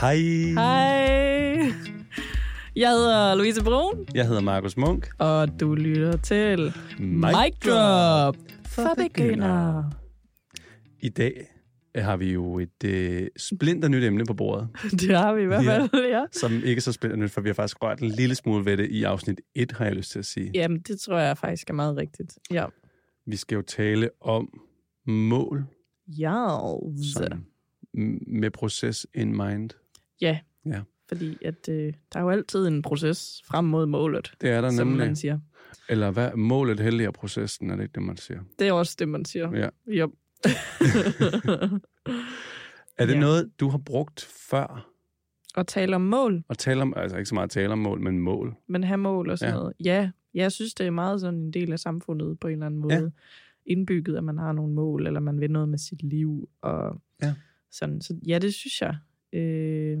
Hej. Hej. Jeg hedder Louise Brun, Jeg hedder Markus Munk. og du lytter til Mic Drop for begyndere. I dag har vi jo et øh, splinter nyt emne på bordet, Det har vi i hvert Ja. fald, ja. som ikke er så splinter nyt, for vi har faktisk rørt en lille smule ved det i afsnit 1, har jeg lyst til at sige. Jamen, det tror jeg faktisk er meget rigtigt. Ja. Vi skal jo tale om mål Jarls. sådan, m- med proces in mind. Ja. Ja. Fordi at, øh, der er jo altid en proces frem mod målet, Det er der som nemlig. man siger. Eller hvad? Målet helliger processen, er det ikke det, man siger? Det er også det, man siger. Ja. Yep. Er det Ja. noget, du har brugt før? og tale om mål, At tale om, altså ikke så meget tale om mål, men mål. men have mål og sådan Ja. ja. noget. Ja, jeg synes, det er meget sådan en del af samfundet på en eller anden måde. Ja. Ja. Indbygget, at man har nogle mål, eller man vil noget med sit liv. Og Ja. Sådan. Så ja, det synes jeg. Øh,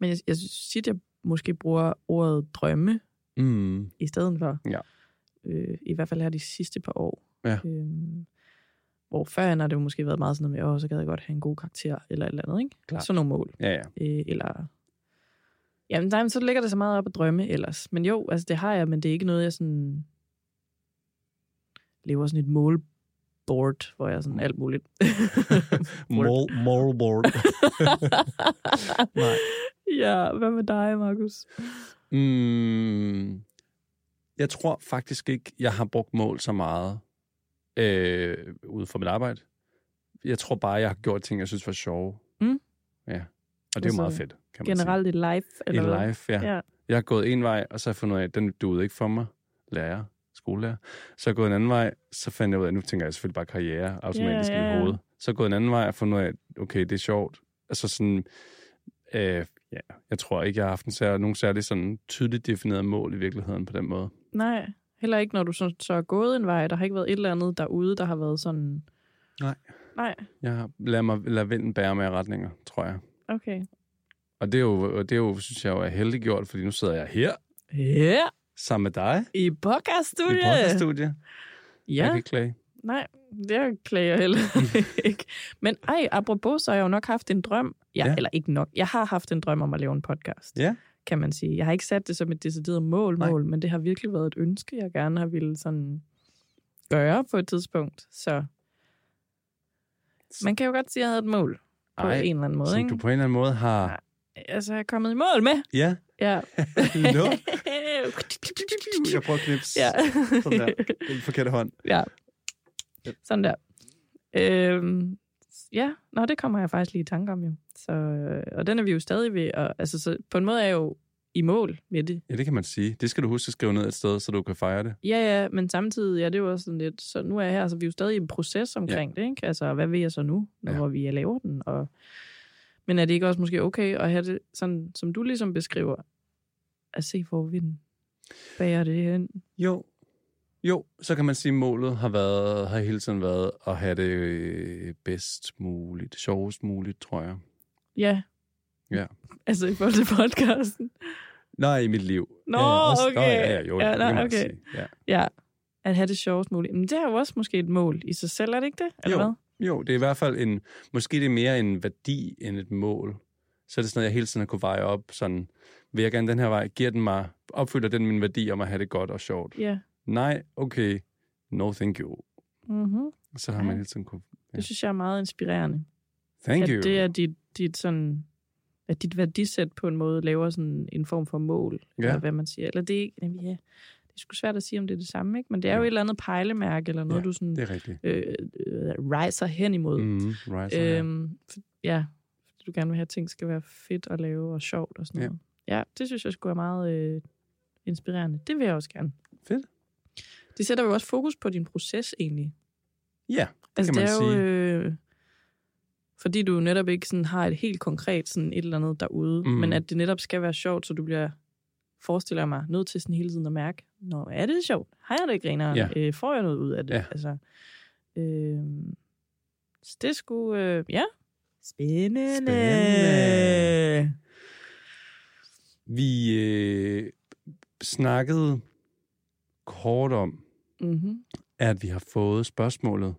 men jeg, jeg synes tit, jeg måske bruger ordet drømme Mm. i stedet for. Ja. Øh, I hvert fald her de sidste par år. Ja. Øh, hvor førhen har det jo måske været meget sådan noget med, åh, så gad jeg godt have en god karakter, eller et eller andet, ikke? Klart. Sådan nogle mål. Ja, ja. Øh, eller... Jamen, nej, men så ligger det så meget op at drømme ellers. Men jo, altså det har jeg, men det er ikke noget, jeg sådan... lever sådan et målboard, hvor jeg sådan alt muligt... Moral, moral board. Nej. ja, hvad med dig, Markus? Mm, jeg tror faktisk ikke, jeg har brugt mål så meget øh, ude for mit arbejde. Jeg tror bare, jeg har gjort ting, jeg synes var sjove. Mm. Ja. Og det er jo Altså, meget fedt, kan man Generelt i life? sige. Eller hvad? I life, ja. Ja. Jeg har gået en vej, og så har jeg fundet ud af, at den duede ikke for mig. Lærer, skolelærer. Så har jeg gået en anden vej, så fandt jeg ud af, nu tænker jeg selvfølgelig bare karriere automatisk Ja, i ja, mit ja. hoved. Så har jeg gået en anden vej og fundet ud af, at okay, det er sjovt. Altså sådan, øh, ja, jeg tror ikke, jeg har haft en sær- nogen særlig sådan tydeligt defineret mål i virkeligheden på den måde. Nej, heller ikke, når du så, så er gået en vej. Der har ikke været et eller andet derude, der har været sådan... Nej. Nej, Jeg har lader, mig, lader vinden bære med retninger, tror jeg. okay. Og det er jo, og det er jo synes jeg jo er heldiggjort, fordi nu sidder jeg her Ja, sammen med dig i i podcaststudiet. podcaststudiet. Oh, Ja. Jeg kan ikke klage. Nej, det klager jeg heller ikke. Men ej, apropos, så har jeg jo nok haft en drøm. Ja, Ja. ja. Eller ikke nok. Jeg har haft en drøm om at lave en podcast, Ja. kan man sige. Jeg har ikke sat det som et decideret mål, Nej. mål men det har virkelig været et ønske, jeg gerne har ville sådan gøre på et tidspunkt. Så man kan jo godt sige, at jeg havde et mål på Ej, en eller anden måde. som Ikke? du på en eller anden måde har... Altså, jeg er kommet i mål med. Ja, Ja. Nå, jeg prøver at knipse ja. ja. sådan der. den forkerte hånd. Ja. Sådan der. Øhm, ja, nå, det kommer jeg faktisk lige i tanke om jo. Så, øh, og den er vi jo stadig ved. Og, altså, så på en måde er jeg jo i mål med det. Ja, det kan man sige. Det skal du huske at skrive ned et sted, så du kan fejre det. Ja, ja, men samtidig er det jo også sådan lidt, så nu er jeg her, så vi er jo stadig i en proces omkring ja. det, ikke? Altså, hvad vil jeg så nu, når Ja. ja. vi laver den? Og, men er det ikke også måske okay at have det sådan, som du ligesom beskriver, at se, hvor vinden bærer det hen? Jo. Jo, så kan man sige, at målet har, været, har hele tiden været at have det øh, bedst muligt, sjovest muligt, tror jeg. Ja. Ja. Altså, i forhold til podcasten. Nej, i mit liv. Nå, ja, ja, også, Nå, okay. ja, ja, jo, Ja, det nej, kan man okay. sige. Ja. Ja, at have det sjovest muligt. Men det er jo også måske et mål i sig selv, er det ikke det? Eller Jo. hvad? Jo, det er i hvert fald en, måske det er mere en værdi end et mål. Så er det sådan noget, jeg hele tiden har kunne veje op, sådan, vil jeg gerne den her vej, giver den mig, opfylder den min værdi om at have det godt og sjovt? Ja. Nej, okay, no thank you. Mm-hmm. Så har Ja. man hele tiden kunne, Ja. Det synes jeg er meget inspirerende. thank at you. det er dit, dit sådan at dit værdisæt på en måde laver sådan en form for mål, Ja. eller hvad man siger. Eller det er ikke, jamen ja, det er sgu svært at sige, om det er det samme, ikke? Men det er jo Jo. et eller andet pejlemærke, eller noget, Ja, du sådan Det er rigtigt. øh, øh, rejser hen imod. Mm, right, så her. Øhm, for- ja, fordi du gerne vil have, at ting skal være fedt at lave og sjovt og sådan Ja. noget. Ja, det synes jeg skulle er meget øh, inspirerende. Det vil jeg også gerne. Fedt. Det sætter jo også fokus på din proces egentlig. Ja, det altså, kan man det er sige. jo, øh, fordi du jo netop ikke sådan har et helt konkret sådan et eller andet derude, Mhm. mm. men at det netop skal være sjovt, så du bliver forestiller jeg mig, nødt til sådan hele tiden at mærke, Nå, er det sjovt? Har jeg det grineren? Ja. Ja. Øh, får jeg noget ud af det? Ja. Altså, øh, så det skulle, øh, ja. Spændende. Spændende. Vi øh, snakkede kort om, Mm-hmm. at vi har fået spørgsmålet,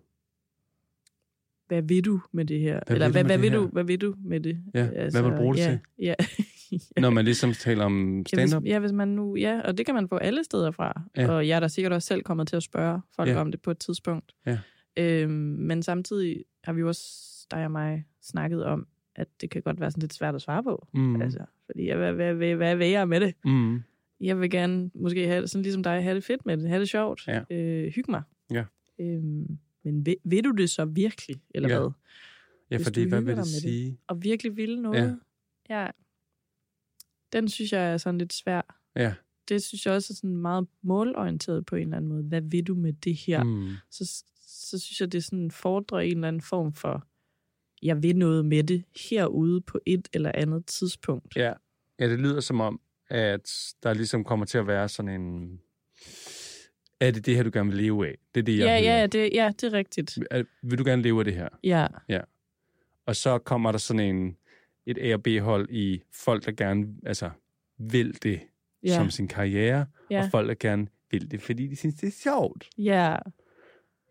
hvad vil du med det her? Hvad Eller vil du hvad, med hvad, det vil her? du, hvad vil du med det? Altså, Ja, hvad vil du bruge det ja, til? Ja. Når man ligesom taler om Ja, stand-up. Hvis, ja, hvis man nu, ja, og det kan man få alle steder fra. Ja. Ja. Og jeg er da sikkert også selv kommet til at spørge folk Ja. ja. om det på et tidspunkt. Ja. Øhm, men samtidig har vi jo også, dig og mig, snakket om, at det kan godt være sådan lidt svært at svare på. Mm, Mm. Altså, fordi ja, hvad, hvad, hvad, hvad vil jeg med det? mm, Jeg vil gerne, måske have det, sådan ligesom dig, have det fedt med det, have det sjovt, Ja. øh, hygge mig. Ja. Øhm, men vil, vil du det så virkelig, eller Ja. ja. hvad? ja, Hvis fordi du hvad hygger vil dig det med det. sige? Og virkelig ville noget. Ja. ja. Den synes jeg er sådan lidt svær. Ja. det synes jeg også er sådan meget målorienteret på en eller anden måde. Hvad vil du med det her? Mm. Mm, Så, så synes jeg, det sådan fordrer en eller anden form for, jeg vil noget med det herude på et eller andet tidspunkt. Ja. ja, det lyder som om, at der ligesom kommer til at være sådan en... Er det det her, du gerne vil leve af? Det er det, jeg ja, hører. ja, det, ja, det er rigtigt. Er- Vil du gerne leve af det her? Ja, Og så kommer der sådan en, et A- og B-hold i folk, der gerne altså, vil det ja. ja, som sin karriere, ja. ja, og folk, der gerne vil det, fordi de synes, det er sjovt. ja.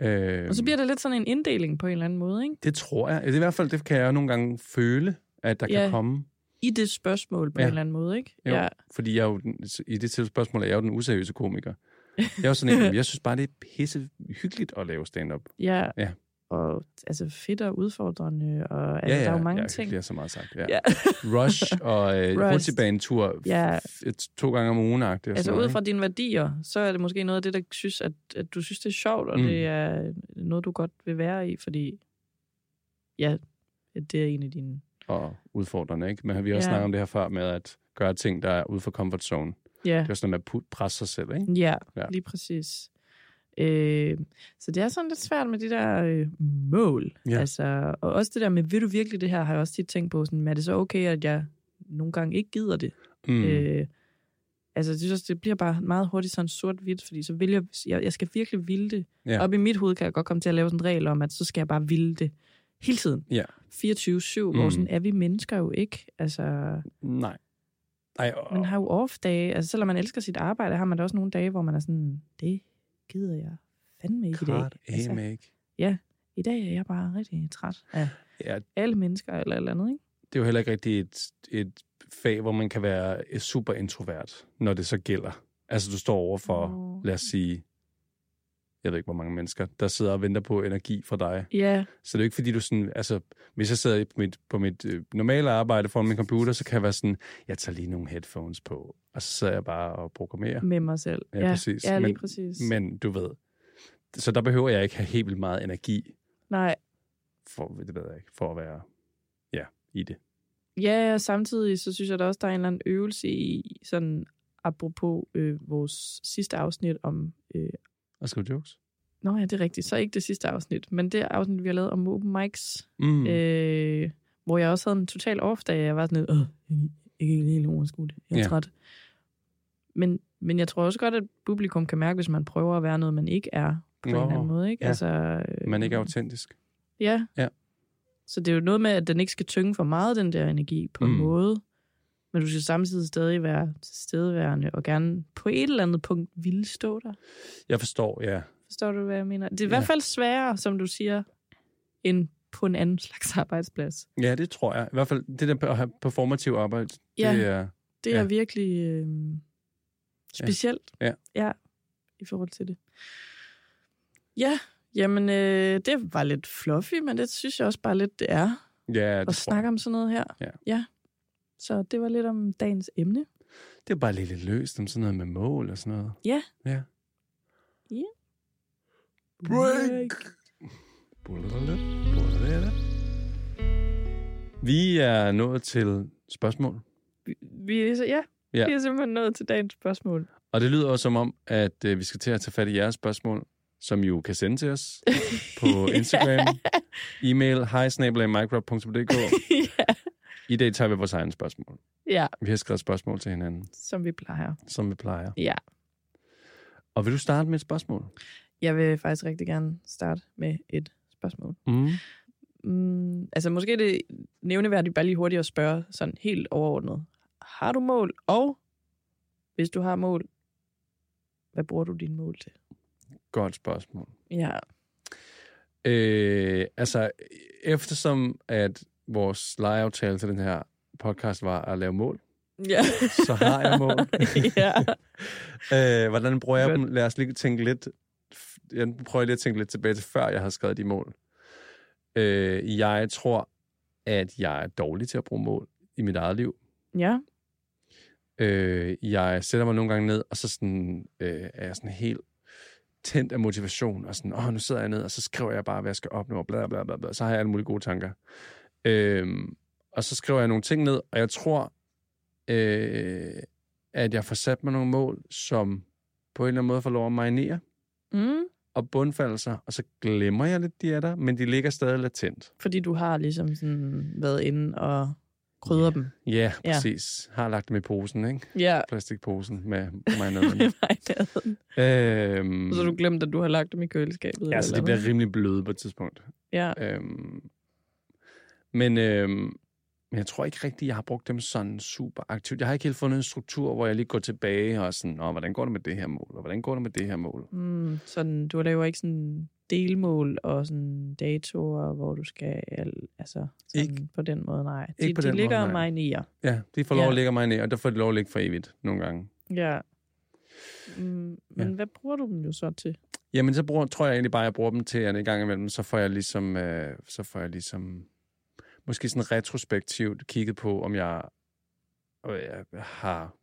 Øh, Og så bliver det lidt sådan en inddeling på en eller anden måde, ikke? Det tror jeg. Det er i hvert fald, det kan jeg nogle gange føle, at der ja. kan Ja. komme. I det spørgsmål på Ja. en eller anden måde, ikke? Jo. Ja, Fordi jeg er jo, den- i det til spørgsmål er jeg jo den useriøse komiker. Jeg er jo sådan en, "Jamen, jeg synes bare, det er pisse hyggeligt at lave stand-up. ja. Ja. Og altså fedt og udfordrende, og altså, ja, ja, der er jo mange ja, ting. Det er så meget sagt, ja. ja. Ja. Rush og øh, Rush. rutsjebanetur Ja. ja. to gange om ugen. Altså ud fra dine værdier, så er det måske noget af det, der synes, at, at du synes, det er sjovt, og Mm. mm. det er noget, du godt vil være i, fordi ja, det er en af dine... og udfordrende, ikke? Men vi har også Ja. snakket om det her før med at gøre ting, der er ude for comfort zone. Det Ja, er jo sådan at pu- presse sig selv, ikke? ja, Ja. ja. lige præcis. Øh, så det er sådan lidt svært med de der øh, mål. Ja. Altså, og også det der med, vil du virkelig det her, har jeg også tit tænkt på, sådan, men er det så okay, at jeg nogle gange ikke gider det? Mm. Mm. Øh, Øh, altså, jeg synes også, det bliver bare meget hurtigt sådan sort-hvidt, fordi så vil jeg, jeg, jeg skal virkelig ville det. Ja. Ja. Op i mit hoved kan jeg godt komme til at lave sådan en regel om, at så skal jeg bare ville det hele tiden. Ja. 24-7, mm. Mm. hvor sådan er vi mennesker jo ikke. Altså, Nej. Ej, og, man har jo off-dage. Altså, selvom man elsker sit arbejde, har man da også nogle dage, hvor man er sådan, det gider jeg fandme ikke i dag. Krat, Altså, amen ikke. I dag er jeg bare rigtig træt af Ja, alle mennesker eller et eller andet, ikke? det er jo heller ikke rigtig et, et fag, hvor man kan være super introvert, når det så gælder. Altså, du står over for, Nå. lad os sige, jeg ved ikke, hvor mange mennesker, der sidder og venter på energi fra dig. Ja, Så det er jo ikke, fordi du sådan, altså, hvis jeg sidder på mit, på mit øh, normale arbejde foran min computer, så kan jeg være sådan, jeg tager lige nogle headphones på, og så sidder jeg bare og programmerer. med mig selv. Ja, præcis. Ja, lige Men- præcis. Men du ved, så der behøver jeg ikke have helt vildt meget energi Nej, for, det ved jeg ikke, for at være ja, i det. Ja, og samtidig så synes jeg da også, der er en eller anden øvelse i, sådan apropos øh, vores sidste afsnit om... Øh, Og skrive jokes. nå ja, det er rigtigt, så ikke det sidste afsnit, men det afsnit, vi har lavet om open mics, Mm. mm. øh, hvor jeg også havde en total off, da jeg var sådan lidt, "Åh, jeg kan ikke helt overskue det, jeg er Ja. ja. træt. Men, men jeg tror også godt, at publikum kan mærke, hvis man prøver at være noget, man ikke er, på en Nå, eller anden måde. Ikke? ja. Altså, øh, Man ikke er autentisk. Ja. Ja. Så det er jo noget med, at den ikke skal tynge for meget, den der energi, på mm. Mm. en måde. Men du skal samtidig stadig være tilstedeværende, og gerne på et eller andet punkt ville stå der. Jeg forstår, ja. Forstår du, hvad jeg mener? Det er i Ja. hvert fald sværere, som du siger, end på en anden slags arbejdsplads. Ja, det tror jeg. I hvert fald det der at have performativ arbejde, Ja. det er... Det Ja. er virkelig øh, specielt. Ja. ja. I forhold til det. Ja, jamen øh, det var lidt fluffy, men det synes jeg også bare lidt, det er. Ja, det og tror snakke jeg. om sådan noget her. Ja. ja. Så det var lidt om dagens emne. Det er bare lidt lidt løst om sådan noget med mål og sådan noget. Ja. Ja. Ja. Break! Vi er nået til spørgsmål. Vi, vi, er- ja, Ja. ja, vi er simpelthen nået til dagens spørgsmål. Og det lyder også som om, at øh, vi skal til at tage fat i jeres spørgsmål, som I jo kan sende til os på Instagram, e-mail, hejsnabelagmicrob.dk. ja. I dag tager vi vores egne spørgsmål. ja, Vi har skrevet spørgsmål til hinanden, som vi plejer. som vi plejer. Ja. Og vil du starte med et spørgsmål? Jeg vil faktisk rigtig gerne starte med et spørgsmål. Mm. Mm, altså måske er det nævneværdigt bare lige hurtigt at spørge sådan helt overordnet. Har du mål? Og hvis du har mål, hvad bruger du dine mål til? Godt spørgsmål. Ja, Øh, altså, eftersom at vores lejeaftale til den her podcast var at lave mål, Ja. så har jeg mål. ja. øh, hvordan bruger jeg Godt. dem? Lad os lige tænke lidt... Jeg prøver lige at tænke lidt tilbage til, før jeg har skrevet de mål. Øh, jeg tror, at jeg er dårlig til at bruge mål i mit eget liv. ja. Øh, jeg sætter mig nogle gange ned, og så sådan, øh, er jeg sådan helt tændt af motivation, og sådan, åh, nu sidder jeg ned, og så skriver jeg bare, hvad jeg skal opnå, og bla, bla, bla, bla. Så har jeg alle mulige gode tanker. Øhm, og så skriver jeg nogle ting ned, og jeg tror, øh, at jeg får sat mig nogle mål, som på en eller anden måde får lov at marinere Mm. og bundfalde sig, og så glemmer jeg lidt, de er der, men de ligger stadig latent. Fordi du har ligesom sådan været inde og krydret dem. Ja, Ja. præcis. Har lagt dem i posen, ikke? Ja. Plastikposen med marinaden. øhm, Og så har du glemt, at du har lagt dem i køleskabet. Ja, altså, eller de bliver noget. rimelig bløde på et tidspunkt. Ja. Øhm, men, øhm, men jeg tror ikke rigtigt, jeg har brugt dem sådan super aktivt. Jeg har ikke helt fundet en struktur, hvor jeg lige går tilbage og sådan, Nå, hvordan går det med det her mål, og hvordan går det med det her mål? Mm, sådan, du laver ikke sådan delmål og sådan datoer, hvor du skal, al- altså sådan Ikke- på den måde, nej. De, ikke på de den måde, ligger og nej. marinerer. Ja, de får lov Ja. at ligge mig ned, og der får de lov at ligge for evigt nogle gange. Ja. Mm, men Ja. hvad bruger du dem jo så til? Jamen, så bruger, tror jeg egentlig bare, at jeg bruger dem til, at en gang imellem, så får jeg ligesom, øh, så får jeg ligesom måske sådan retrospektivt kigget på, om jeg, øh, jeg har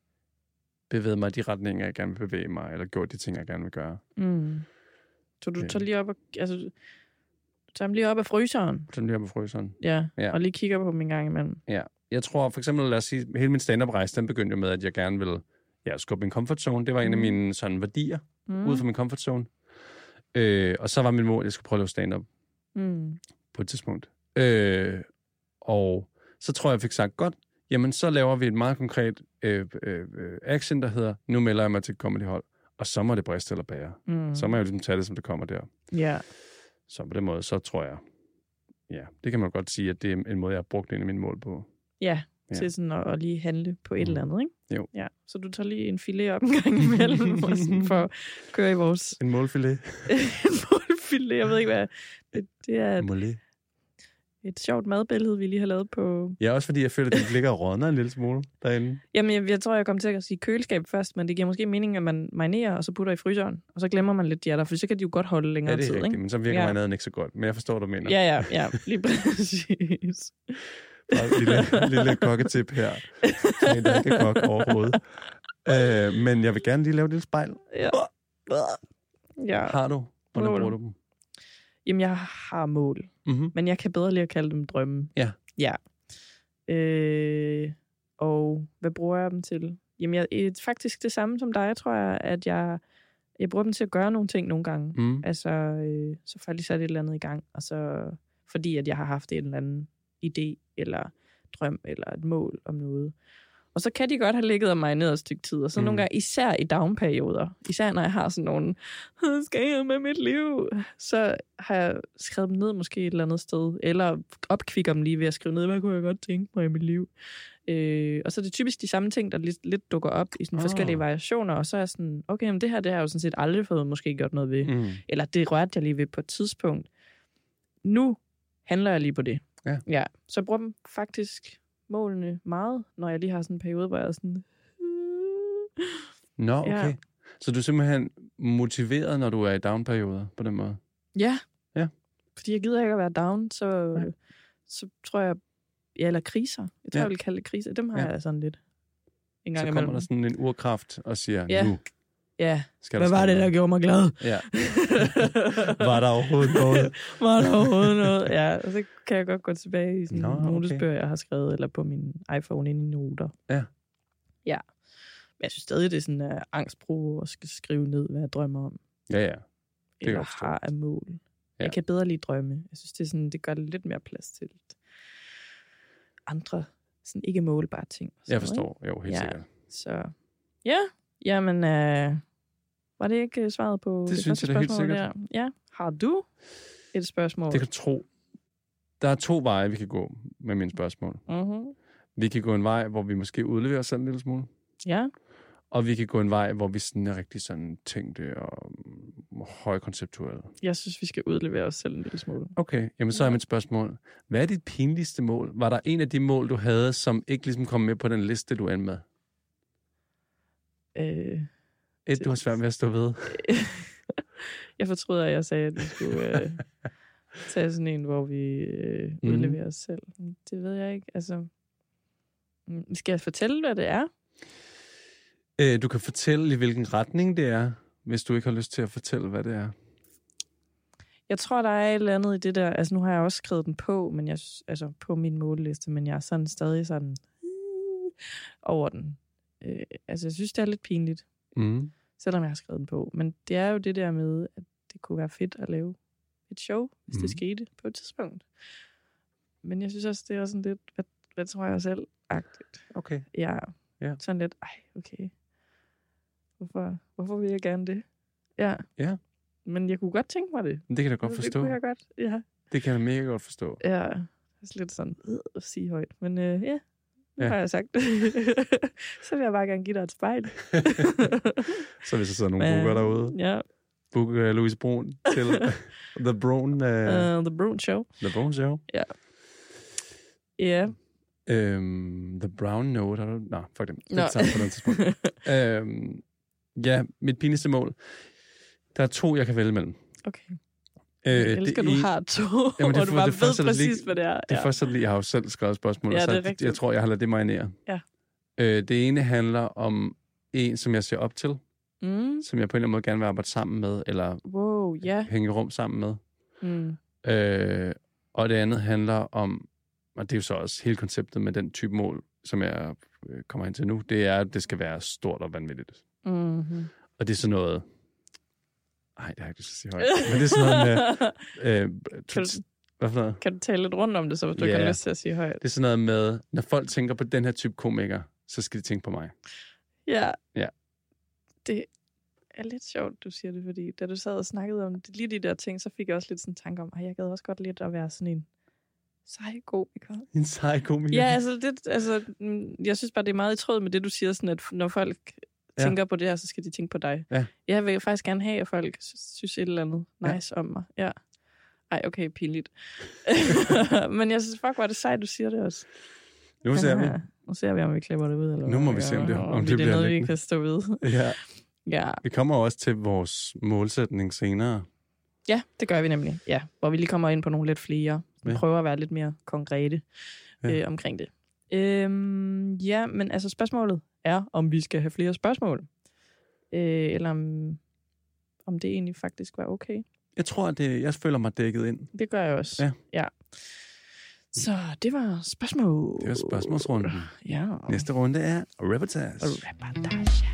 bevæget mig i de retninger, jeg gerne vil bevæge mig, eller gjort de ting, jeg gerne vil gøre. Mm. Så du Øh. tager lige op og, altså, du tager dem lige op af fryseren, Sådan lige på fryseren. ja, Ja. ja. og lige kigger på dem en gang imellem. Jeg tror for eksempel, lad os sige, hele min stand-up-rejse, den begyndte jo med, at jeg gerne ville ja, skubbe min comfort zone. Det var en af Mm. mine sådan, værdier, Mm. mm. ud fra min comfort zone. Øh, og så var min mål, at jeg skulle prøve at lave stand-up Mm. på et tidspunkt. Øh, og så tror jeg, jeg fik sagt, godt, jamen så laver vi et meget konkret øh, øh, øh, action, der hedder, nu melder jeg mig til et comedyhold, og så må det briste eller bære. Mm. Mm. Så må jeg jo ligesom tage det, som det kommer der. Ja. Så på den måde, så tror jeg, ja, det kan man godt sige, at det er en måde, jeg har brugt en af mine mål på. Ja, Ja. ja, til sådan at, at lige handle på et Mhm. eller andet, ikke? Jo. Ja, så du tager lige en filet op en gang imellem, og sådan for at køre i vores En målfilet. målfilet. Jeg ved ikke, hvad... Det, det er et, Målet. et sjovt madbillede, vi lige har lavet på... Ja, også fordi jeg føler, at den ligger og rådner en lille smule derinde. Jamen, jeg, jeg tror, jeg kom til at sige køleskab først, men det giver måske mening, at man marinerer, og så putter i fryseren, og så glemmer man lidt de er der, for så kan de jo godt holde Ja, længere det er tid, rigtigt, ikke? men så virker ja. Ja. marinaden ikke så godt. Men jeg forstår, hvad du mener. Ja, ja, ja, lige præcis. Bare et lille, lille kokketip her. Så en, der ikke er kok overhovedet. Øh, men jeg vil gerne lige lave et lille spejl. Ja. ja. Har du? Hvordan Mål. bruger du dem? Jamen, jeg har mål. Mm-hmm. Men jeg kan bedre lide at kalde dem drømme. Ja. Ja. Øh, og hvad bruger jeg dem til? Jamen, jeg, eh, faktisk det samme som dig, tror jeg, at jeg, jeg bruger dem til at gøre nogle ting nogle gange. Mm. Mm. Altså, øh, så får jeg lige sat et eller andet i gang, og så fordi at jeg har haft en eller anden idé, eller drøm, eller et mål om noget. Og så kan de godt have ligget og marineret et stykke tid, og så mm. Mm. nogle gange, især i downperioder, især når jeg har sådan nogle, "Hvad skal jeg med mit liv? Så har jeg skrevet dem ned måske et eller andet sted, eller opkvikker dem lige ved at skrive ned, hvad kunne jeg godt tænke mig i mit liv? Øh, og så er det typisk de samme ting, der lidt, lidt dukker op i sådan Ah. forskellige variationer, og så er jeg sådan, okay, men det her, det har jeg jo sådan set aldrig fået måske gjort noget ved Mm. eller det rørte jeg lige ved på et tidspunkt. Nu handler jeg lige på det. Ja. ja. Så jeg bruger dem faktisk målene meget, når jeg lige har sådan en periode, hvor jeg er sådan... "Hmm." Nå, okay. Ja. Så du er simpelthen motiveret, når du er i downperioder på den måde? Ja. Ja. Fordi jeg gider ikke at være down, så, Nej. så tror jeg... Ja, eller kriser. Jeg Ja. tror, ja. jeg vil kalde det kriser. Dem har Ja. ja. jeg sådan lidt en gang Så imellem. kommer der sådan en urkraft og siger, Ja. nu Ja, skal hvad der var ske det, der noget. gjorde mig glad? Ja. Var der overhovedet noget? Var der overhovedet noget? Ja, og så kan jeg godt gå tilbage i sådan Nå, Nå, okay. notesbøger, jeg har skrevet, eller på min iPhone ind i noter. Ja. Ja. Men jeg synes stadig, det er sådan uh, angstbrug at skal skrive ned, hvad jeg drømmer om, Ja, ja. kan jeg eller godt forstå. har af mål. Ja. Jeg kan bedre lige drømme. Jeg synes, det, er sådan, det gør det lidt mere plads til andre, sådan ikke målbare ting. og sådan Jeg noget, forstår. Jo, helt Ja. sikkert. ikke? Så ja, jamen, øh, var det ikke øh, svaret på det, synes første jeg da helt spørgsmål sikkert. Der? Ja, har du et spørgsmål? Det kan du tro. Der er to veje, vi kan gå med mine spørgsmål. Mm-hmm. Vi kan gå en vej, hvor vi måske udleverer os selv en lille smule. Ja. og vi kan gå en vej, hvor vi sådan er rigtig sådan tænkte og mm, højkonceptuelle. Jeg synes, vi skal udlevere os selv en lille smule. Okay, jamen så er mit spørgsmål. Hvad er dit pinligste mål? Var der en af de mål, du havde, som ikke ligesom kom med på den liste, du endte med? Øh, Et, du har svært ved at stå ved. jeg fortryder, at jeg sagde, at vi skulle øh, tage sådan en, hvor vi øh, Mhm. udleverer os selv. Det ved jeg ikke. Altså, mm, skal jeg fortælle, hvad det er? Øh, du kan fortælle, i hvilken retning det er, hvis du ikke har lyst til at fortælle, hvad det er. Jeg tror, der er et eller andet i det der. Altså, nu har jeg også skrevet den på, men jeg, s- altså, på min målliste, men jeg er sådan stadig sådan øh, over den. Øh, altså, jeg synes, det er lidt pinligt, Mm. selvom jeg har skrevet den på. Men det er jo det der med, at det kunne være fedt at lave et show, hvis mm. Mhm. det skete på et tidspunkt. Men jeg synes også, det er sådan lidt, hvad, hvad tror jeg selv-agtigt. Okay. Ja, Ja. sådan lidt, ej, okay. Hvorfor, hvorfor vil jeg gerne det? Ja. Ja. Men jeg kunne godt tænke mig det. Det kan jeg da godt Det- forstå. Det kunne jeg godt, ja. Det kan jeg da mega godt forstå. Ja, det er lidt sådan øh, at sige højt. Men øh, ja, nu Ja. ja. har jeg sagt det. så vil jeg bare gerne give dig et spejl. Så hvis der sidder nogle Men, booker derude, Ja, booker uh, Louise Brun til The Brun, uh, uh, The Brown Show. The Brun Show. Ja. Øhm, the Brown Note, har du... Nå, fuck dem. Det Nå. er sammen på den tidspunkt. øhm, ja, mit pinligste mål. Der er to, jeg kan vælge mellem. Okay. Øh, Jeg elsker, det du ene- har to, Jamen, det og er du for- bare det er først, ved at det præcis, lige- hvad det er. Det er ja. først, at jeg har jo selv skrevet spørgsmål, Ja, og det er sagt, rigtigt. jeg tror, jeg har ladet det marinere. Ja. Øh, det ene handler om en, som jeg ser op til, Mm. som jeg på en eller anden måde gerne vil arbejde sammen med, eller Wow, ja. hænge i rum sammen med. Mm. Øh, og det andet handler om, og det er jo så også hele konceptet med den type mål, som jeg øh, kommer hen til nu, det er, at det skal være stort og vanvittigt. Mm-hmm. Og det er sådan noget... Nej, det har jeg ikke lyst til at sige højt. Men det er sådan noget med... Øh, Kan tut, hvad for noget? kan du tale lidt rundt om det, så hvis du Ja. ikke har lyst til at sige højt? Det er sådan noget med, når folk tænker på den her type komiker, så skal de tænke på mig. Ja. Ja. Det er lidt sjovt, du siger det, fordi da du sad og snakkede om det, lige de der ting, så fik jeg også lidt sådan en tanke om, at jeg gad også godt lidt at være sådan en sej komiker. En sej komiker. Ja, altså, det, altså, mm, jeg synes bare, det er meget i tråd med det, du siger, sådan at f- når folk Ja. tænker på det her, så skal de tænke på dig. Ja. Jeg vil faktisk gerne have, at folk sy- synes et eller andet Ja. nice om mig. Ja. Ej, okay, pinligt. Men jeg synes, fuck, var det sejt, du siger det også. Nu ser vi. Nu ser vi, om vi klipper det ud. Eller Nu må hvad, vi se, om det- og om det det er bliver noget, vi liggende. kan stå ved. Ja. Ja. Vi kommer også til vores målsætning senere. ja, det gør vi nemlig. Ja, hvor vi lige kommer ind på nogle lidt flere. Vi Ja. prøver at være lidt mere konkrete Ja. øh, omkring det. Øhm, ja, men altså spørgsmålet er, om vi skal have flere spørgsmål. Øh, eller om, om det egentlig faktisk var okay. Jeg tror, at det, jeg føler mig dækket ind. Det gør jeg også. Ja. ja. Så det var spørgsmål. Det er spørgsmålsrunden. Ja. Næste runde er reportage. Og reportage.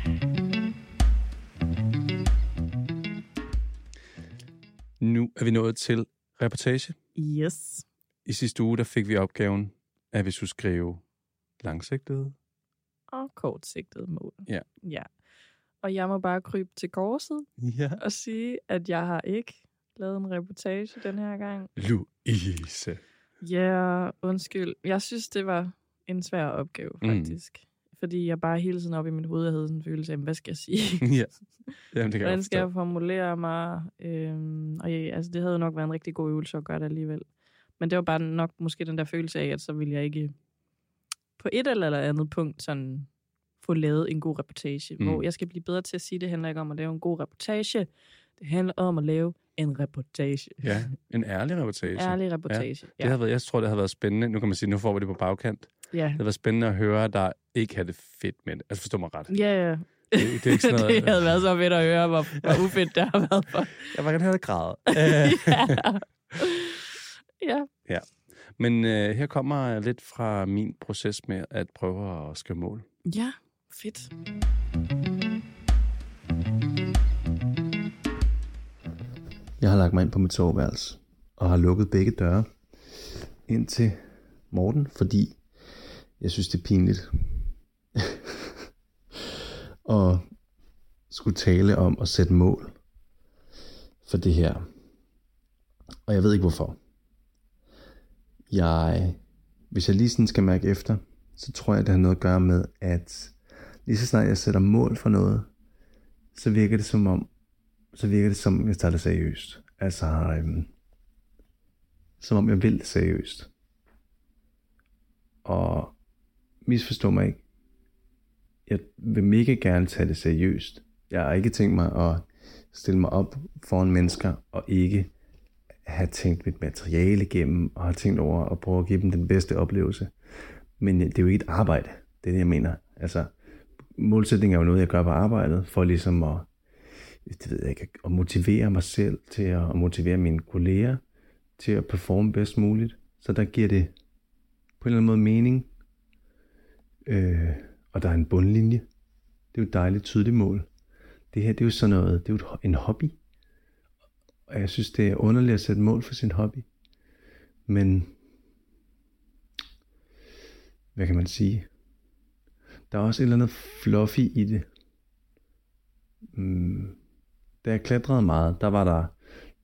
Nu er vi nået til reportage. Yes. I sidste uge, der fik vi opgaven, at vi skulle skrive langsigtede. og kortsigtede mål. Ja. ja. Og jeg må bare krybe til korset Ja. og sige, at jeg har ikke lavet en reportage den her gang. Louise. Ja, yeah, undskyld. Jeg synes, det var en svær opgave, Mm. faktisk. Mm. Fordi jeg bare hele tiden op i mit hoved, jeg havde sådan en følelse af, "Jamen, hvad skal jeg sige? ja. Jamen, det kan jeg Hvordan godt skal forstå. jeg formulere mig? Øhm, og ja, altså, det havde jo nok været en rigtig god øvelse at gøre det alligevel. Men det var bare nok måske den der følelse af, at så ville jeg ikke på et eller andet punkt sådan få lavet en god reportage. Mm. Mm. Hvor jeg skal blive bedre til at sige, det handler ikke om at lave en god reportage. Det handler om at lave en reportage. Ja, en ærlig reportage. Ærlig reportage. Det havde været, jeg tror, det havde været spændende. Nu kan man sige, nu får vi det på bagkant. Det ja. havde været spændende at høre, der ikke havde det fedt med det. Altså, forstå mig ret. ja. ja. Det, det er ikke sådan noget... det havde været så fedt at høre, hvor, hvor ufedt det har været for. Jeg var gerne have det græde. ja. ja. Men øh, her kommer lidt fra min proces med at prøve at skrive mål. Ja, fedt. Jeg har lagt mig ind på mit soveværelse og har lukket begge døre ind til Morten, fordi jeg synes, det er pinligt at skulle tale om at sætte mål for det her. Og jeg ved ikke hvorfor. Jeg, hvis jeg lige sådan skal mærke efter, så tror jeg, det har noget at gøre med, at lige så snart jeg sætter mål for noget, så virker det som om, så virker det som om, jeg tager det seriøst. Altså, øhm, som om jeg vil det seriøst. Og misforstå mig ikke. Jeg vil mega gerne tage det seriøst. Jeg har ikke tænkt mig at stille mig op foran mennesker og ikke have tænkt mit materiale igennem og har tænkt over at prøve at give dem den bedste oplevelse. Men det er jo ikke et arbejde, det er det, jeg mener. Altså, målsætning er jo noget, jeg gør på arbejdet, for ligesom at, det ved jeg ikke, at motivere mig selv til at, at motivere mine kolleger til at performe bedst muligt. Så der giver det på en eller anden måde mening. Øh, og der er en bundlinje. Det er jo et dejligt tydeligt mål. Det her, det er jo sådan noget, det er jo et ho- en hobby. Og jeg synes, det er underligt at sætte mål for sin hobby. Men, hvad kan man sige? Der er også et eller andet fluffy i det. Mm. Da jeg klatrede meget, der var der,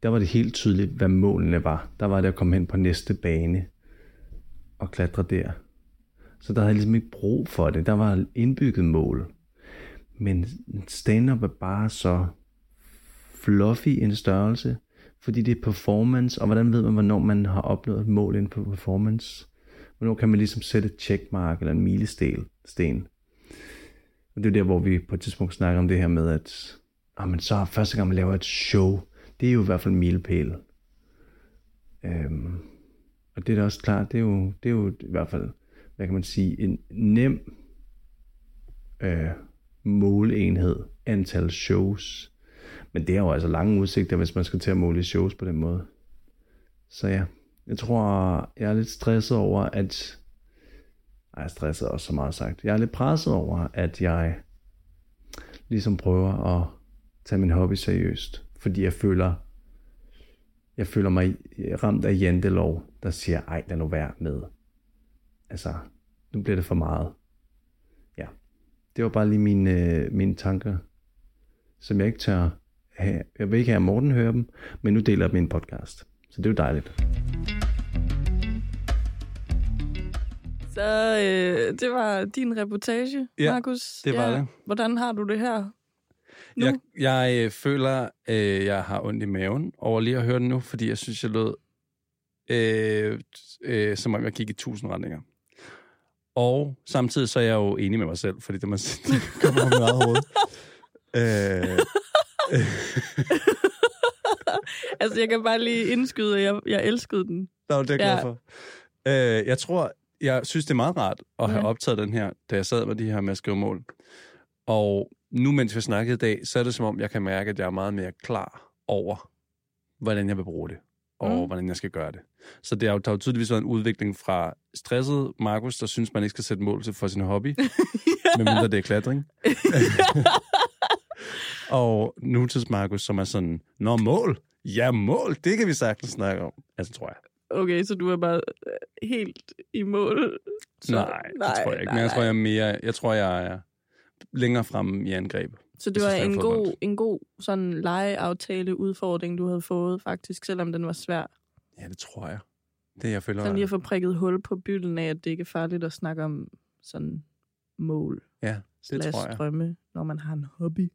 der var det helt tydeligt, hvad målene var. Der var det at komme hen på næste bane og klatre der. Så der havde jeg ligesom ikke brug for det. Der var indbygget mål. Men stand-up er bare så fluffy en størrelse, fordi det er performance, og hvordan ved man, hvornår man har opnået et mål inden for performance? Hvornår kan man ligesom sætte et checkmark eller en milestel, sten? Og det er der, hvor vi på et tidspunkt snakker om det her med, at ah, men så første gang man laver et show, det er jo i hvert fald en milepæl. Øhm, og det er da også klart, det er jo, det er jo i hvert fald, hvad kan man sige, en nem øh, måleenhed, antal shows. Men det er jo altså lange udsigter, hvis man skal til at måle i shows på den måde. Så ja, jeg tror, jeg er lidt stresset over, at... Ej, jeg er stresset er også så meget sagt. Jeg er lidt presset over, at jeg ligesom prøver at tage min hobby seriøst. Fordi jeg føler, jeg føler mig ramt af jantelov, der siger, ej, lad nu være med. Altså, nu bliver det for meget. Ja, det var bare lige mine, øh, mine tanker, som jeg ikke tør have. Jeg vil ikke have, at Morten hører dem, men nu deler jeg min podcast. Så det er jo dejligt. Så øh, det var din reportage, Ja, Markus. det var det. Hvordan har du det her? Nu? Jeg, jeg øh, føler, øh, jeg har ondt i maven over lige at høre den nu, fordi jeg synes, jeg lød, øh, øh, som om jeg gik i tusind retninger. Og samtidig så er jeg jo enig med mig selv, fordi det, man, det kommer fra mit eget hoved. Øh, Altså, jeg kan bare lige indskyde, at jeg, jeg elskede den. Nå, det er jeg glad Ja. for. Øh, jeg tror, jeg synes, det er meget rart at have Ja. optaget den her, da jeg sad med de her med at skrive mål. Og nu, mens vi snakkede i dag, så er det som om, jeg kan mærke, at jeg er meget mere klar over, hvordan jeg vil bruge det, og Mm. mm. hvordan jeg skal gøre det. Så det har jo, der har jo tydeligvis været en udvikling fra stresset Markus, der synes, man ikke skal sætte mål til for sin hobby, medmindre det er klatring. og nutids Markus, som er sådan, nå mål, ja mål, det kan vi sagtens snakke om. Altså, tror jeg. Okay, så du er bare øh, helt i mål. Så, nej, nej, det tror jeg ikke. Men jeg tror, nej. jeg er mere... Jeg tror, jeg er længere fremme i angreb. Så det jeg var synes, jeg en har fået god, ondt. en god sådan legeaftale udfordring, du havde fået faktisk, selvom den var svær. Ja, det tror jeg. Det, jeg føler... Sådan lige at få prikket hul på bylden af, at det ikke er farligt at snakke om sådan mål ja, det slash tror jeg. drømme, når man har en hobby.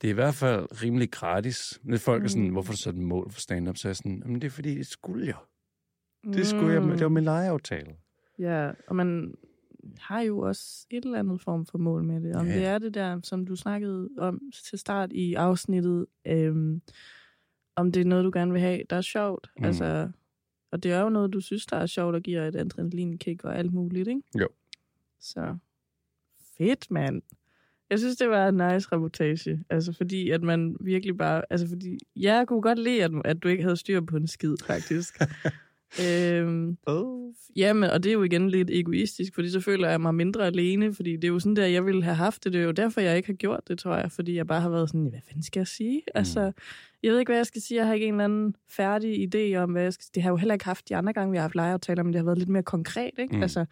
Det er i hvert fald rimelig gratis. Når folk er sådan, Mm. hvorfor har du sat mål for stand-up? Så er jeg sådan, jamen det er fordi, det skulle jeg. Mm. Det skulle jeg, det var min legeaftale. Ja, og man har jo også et eller andet form for mål med det. Om Ja. det er det der, som du snakkede om til start i afsnittet, øhm, om det er noget, du gerne vil have, der er sjovt. Mm. Mm. Altså, og det er jo noget, du synes, der er sjovt og giver et adrenalinkick og alt muligt, ikke? Jo. Så fedt, mand. Jeg synes, det var en nice reportage. Altså, fordi at man virkelig bare... Altså, fordi jeg kunne godt lide, at, at du ikke havde styr på en skid, faktisk. øhm, Oh. Jamen, og det er jo igen lidt egoistisk, fordi så føler jeg mig mindre alene, fordi det er jo sådan der, jeg ville have haft det. Det er jo derfor, jeg ikke har gjort det, tror jeg, fordi jeg bare har været sådan, hvad fanden skal jeg sige? Mm. Altså, jeg ved ikke, hvad jeg skal sige. Jeg har ikke en eller anden færdig idé om, hvad jeg skal sige. Det har jeg jo heller ikke haft de andre gange, vi har haft legeaftaler, men det har været lidt mere konkret, ikke? Mm. Mm. Altså,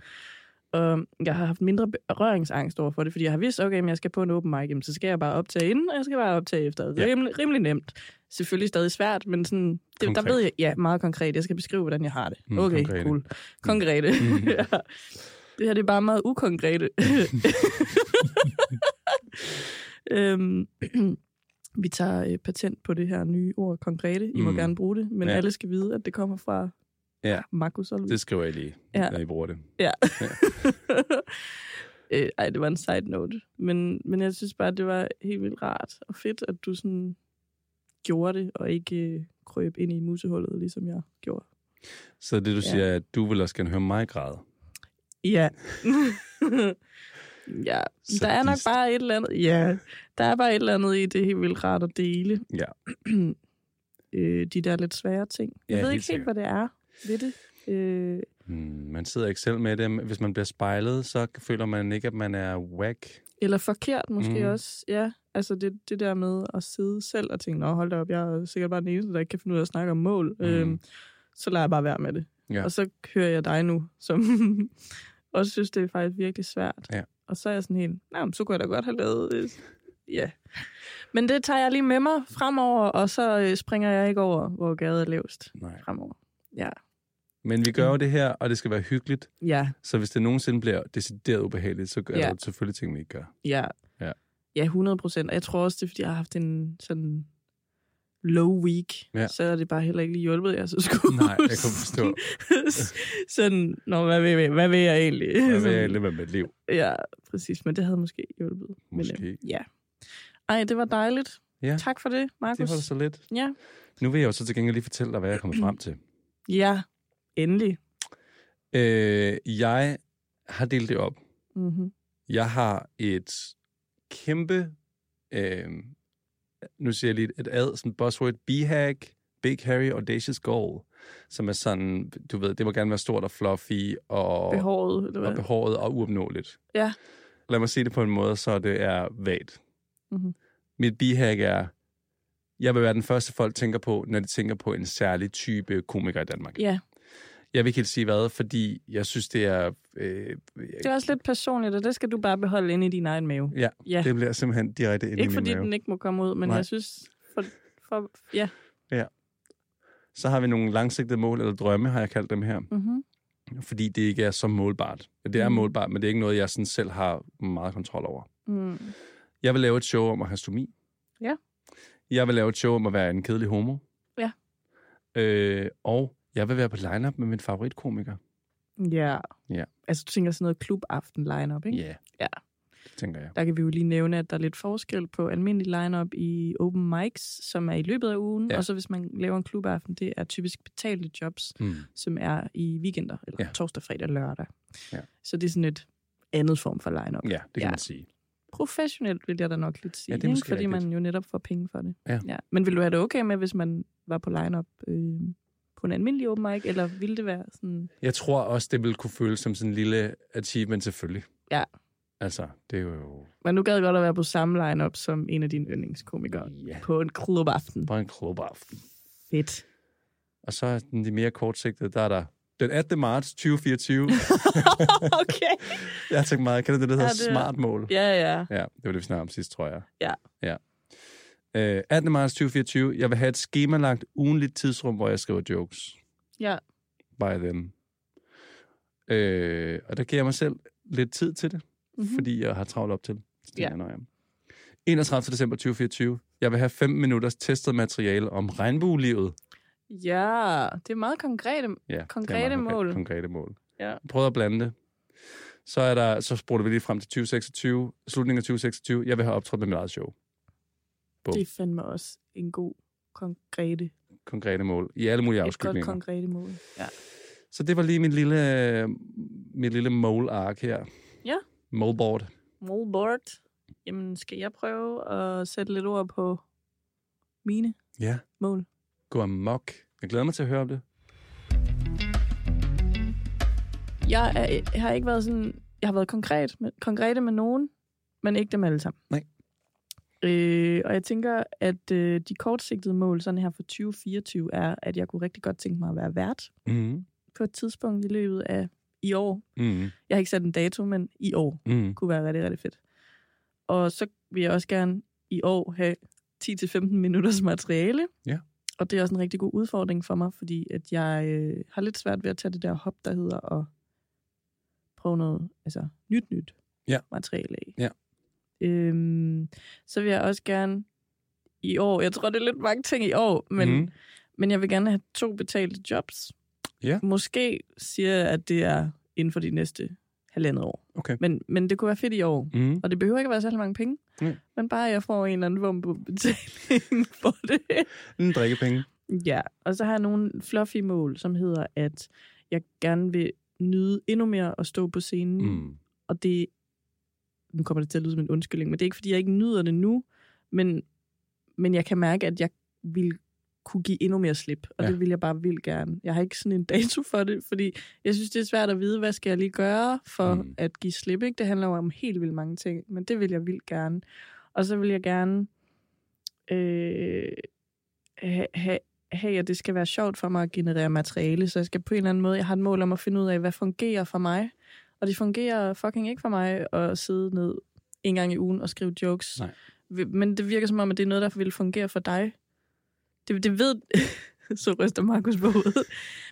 og jeg har haft mindre berøringsangst over for det, fordi jeg har vidst, okay, men jeg skal på en open mic, jamen, så skal jeg bare optage inden, og jeg skal bare optage efter. Det er Ja. rimelig, rimelig nemt. Selvfølgelig stadig svært, men sådan, det, der Konkret. ved jeg, ja, meget konkret. Jeg skal beskrive, hvordan jeg har det. Mm, okay, konkrete. cool. Konkrete. Mm. ja. Det her det er bare meget ukonkrete. Øhm, vi tager øh, patent på det her nye ord, konkrete. I må Mm. gerne bruge det, men Ja. ja. alle skal vide, at det kommer fra Ja. Markus Olvi. Det skriver jeg lige, ja. Ja. når I bruger det. Ja. øh, ej, det var en side note. Men, men jeg synes bare, det var helt vildt rart og fedt, at du sådan gjorde det, og ikke øh, krøb ind i musehullet, ligesom jeg gjorde. Så det, du Ja. siger, er, at du vil også gerne høre mig græde. Ja. ja, der er nok Sadist. bare et eller andet. Ja, der er bare et eller andet i det er helt vildt rart at dele. Ja. øh, de der lidt svære ting. Jeg Ja, ved helt ikke helt, sikkert. hvad det er ved det. Øh, Hmm, man sidder ikke selv med det. Hvis man bliver spejlet, så føler man ikke, at man er whack. Eller forkert måske Mhm. mm. også, ja. Altså det, det der med at sidde selv og tænke, nå hold da op, jeg er sikkert bare den eneste, der ikke kan finde ud af at snakke om mål. Mhm. Mm. Øhm, så lader jeg bare være med det. Ja. Og så hører jeg dig nu, som også synes, det er faktisk virkelig svært. Ja. Og så er jeg sådan helt, nej, så kunne jeg da godt have lavet det. Ja. Men det tager jeg lige med mig fremover, og så øh, springer jeg ikke over, hvor gaden er lavest Nej. fremover. Men vi gør Mm. jo det her, og det skal være hyggeligt. Ja, Så hvis det nogensinde bliver decideret ubehageligt, så er Ja. der selvfølgelig ting, vi ikke gør. Ja. Ja. Ja, 100 procent. Og jeg tror også, det er, fordi jeg har haft en sådan low week. Ja. Så er det bare heller ikke lige hjulpet, jeg så skulle. Nej, jeg kan forstå. sådan, nå, hvad vil, jeg- hvad vil jeg egentlig? Jeg vil Sådan, jeg lidt med mit liv. Ja, præcis. Men det havde måske hjulpet. Men, Måske. øh, ja. Ej, det var dejligt. Ja. Tak for det, Det Markus. holder så lidt. Ja. Nu vil jeg jo så til gengæld lige fortælle dig, hvad jeg er kommet frem til. Ja, endelig. Øh, jeg har delt det op. Mm-hmm. Jeg har et kæmpe, øh, nu siger jeg lige et ad, sådan buzzword, BHAG, Big Harry Audacious Goal, som er sådan, du ved, det må gerne være stort og fluffy og, Behovet, eller og hvad? behåret og uopnåeligt. Ja. Lad mig sige det på en måde, så det er vagt. Mhm. Mit BHAG er, jeg vil være den første, folk tænker på, når de tænker på en særlig type komiker i Danmark. Ja, Jeg vil ikke helt sige hvad, fordi jeg synes, det er... Øh, det er også lidt personligt, og det skal du bare beholde inde i din egen mave. Ja, Ja. det bliver simpelthen direkte ind i Ikke min fordi mave. den ikke må komme ud, men Nej. jeg synes... For, for, ja. Så har vi nogle langsigtede mål eller drømme, har jeg kaldt dem her. Mm-hmm. Fordi det ikke er så målbart. Det er Mm. målbart, men det er ikke noget, jeg sådan selv har meget kontrol over. Mm. Jeg vil lave et show om at have stomi. Ja. Jeg vil lave et show om at være en kedelig homo. Ja. Øh, og jeg vil være på line-up med min favoritkomiker. Ja. Ja. Altså, du tænker sådan noget klubaften lineup, ikke? Ja. Mm. Ja. Det tænker jeg. Der kan vi jo lige nævne, at der er lidt forskel på almindelig lineup i open mics, som er i løbet af ugen, Ja. ja. og så hvis man laver en klubaften, det er typisk betalte jobs, Mm. som er i weekender, eller Ja. ja. torsdag, fredag, lørdag. Ja. Så det er sådan et andet form for lineup. Ja, det kan Ja. man sige. Professionelt vil jeg da nok lidt sige, Ja, det er måske ikke? fordi rigtigt. man jo netop får penge for det. Ja. Ja. Men ville du have det okay med, hvis man var på lineup øh, på en almindelig open mic, eller ville det være sådan... Jeg tror også, det vil kunne føles som sådan en lille achievement, selvfølgelig. Ja. Altså, det er jo... Men nu gad jeg godt at være på samme lineup som en af dine yndlingskomikere. Ja. På en klubaften. Bare en klubaften. Fedt. Og så er den de mere kortsigtede, der er der den 18. marts 2024. okay. jeg har tænkt meget, kan det det, der hedder Ja, ja, det er- smart mål? Ja, ja. Ja, det var det, vi snakkede om sidst, tror jeg. Ja. ja. Øh, 18. marts 2024. Jeg vil have et skemalagt ugenligt tidsrum, hvor jeg skriver jokes. Ja. By them. Øh, og der giver jeg mig selv lidt tid til det, mm-hmm. Mhm. fordi jeg har travlt op til det. Så tænker Ja. jeg, "Nå ja. 31. december 2024. Jeg vil have 5 minutters testet materiale om regnbuelivet. Ja, det er meget konkrete. Ja, det er Konkrete meget konkret- mål. Konkrete mål. Ja. Prøv at blande det. Så, er der, så spurgte vi lige frem til 2026, slutningen af 2026. Jeg vil have optrådt med mit eget show. Bum. Det er fandme også en god konkrete. Konkrete mål i alle mulige et godt afskygninger. konkrete mål. Ja. Så det var lige min lille, mit lille mål-ark her. Ja. Målboard. Målboard. Jamen, skal jeg prøve at sætte lidt ord på mine Ja. mål? Gå amok. Jeg glæder mig til at høre om det. Jeg, er, jeg har ikke været sådan... Jeg har været konkret med, konkrete med nogen, men ikke dem alle sammen. Nej. Øh, og jeg tænker, at øh, de kortsigtede mål sådan her for 2024 er, at jeg kunne rigtig godt tænke mig at være vært Mm-hmm. på et tidspunkt i løbet af i år. Mm-hmm. Jeg har ikke sat en dato, men i år Mm-hmm. kunne være rigtig, rigtig fedt. Og så vil jeg også gerne i år have 10-15 minutters materiale. Ja. Og det er også en rigtig god udfordring for mig, fordi at jeg øh, har lidt svært ved at tage det der hop, der hedder at prøve noget altså, nyt, nyt Ja. materiale af. Ja. Øhm, så vil jeg også gerne i år, jeg tror, det er lidt mange ting i år, men, mm. Mm. men jeg vil gerne have to betalte jobs. Ja. Måske siger jeg, at det er inden for de næste halvandet år. Okay. Men, men det kunne være fedt i år. Mm. Og det behøver ikke at være særlig mange penge. Nej. Men bare at jeg får en eller anden form på betaling for det. En Mm-hmm. drikkepenge. Ja, og så har jeg nogle fluffy mål, som hedder, at jeg gerne vil nyde endnu mere at stå på scenen. Mm. Og det, nu kommer det til at lyde som en undskyldning, men det er ikke, fordi jeg ikke nyder det nu, men, men jeg kan mærke, at jeg vil kunne give endnu mere slip, og Ja. ja. det vil jeg bare vildt gerne. Jeg har ikke sådan en dato for det, fordi jeg synes, det er svært at vide, hvad skal jeg lige gøre for Mm. mm. at give slip. Ikke? Det handler jo om helt vildt mange ting, men det vil jeg vildt gerne. Og så vil jeg gerne øh, have, have, have, at det skal være sjovt for mig at generere materiale, så jeg skal på en eller anden måde, jeg har et mål om at finde ud af, hvad fungerer for mig, og det fungerer fucking ikke for mig at sidde ned en gang i ugen og skrive jokes. Nej. Vi- Men det virker som om, at det er noget, der vil fungere for dig. Det, det ved... så ryster Markus på hovedet.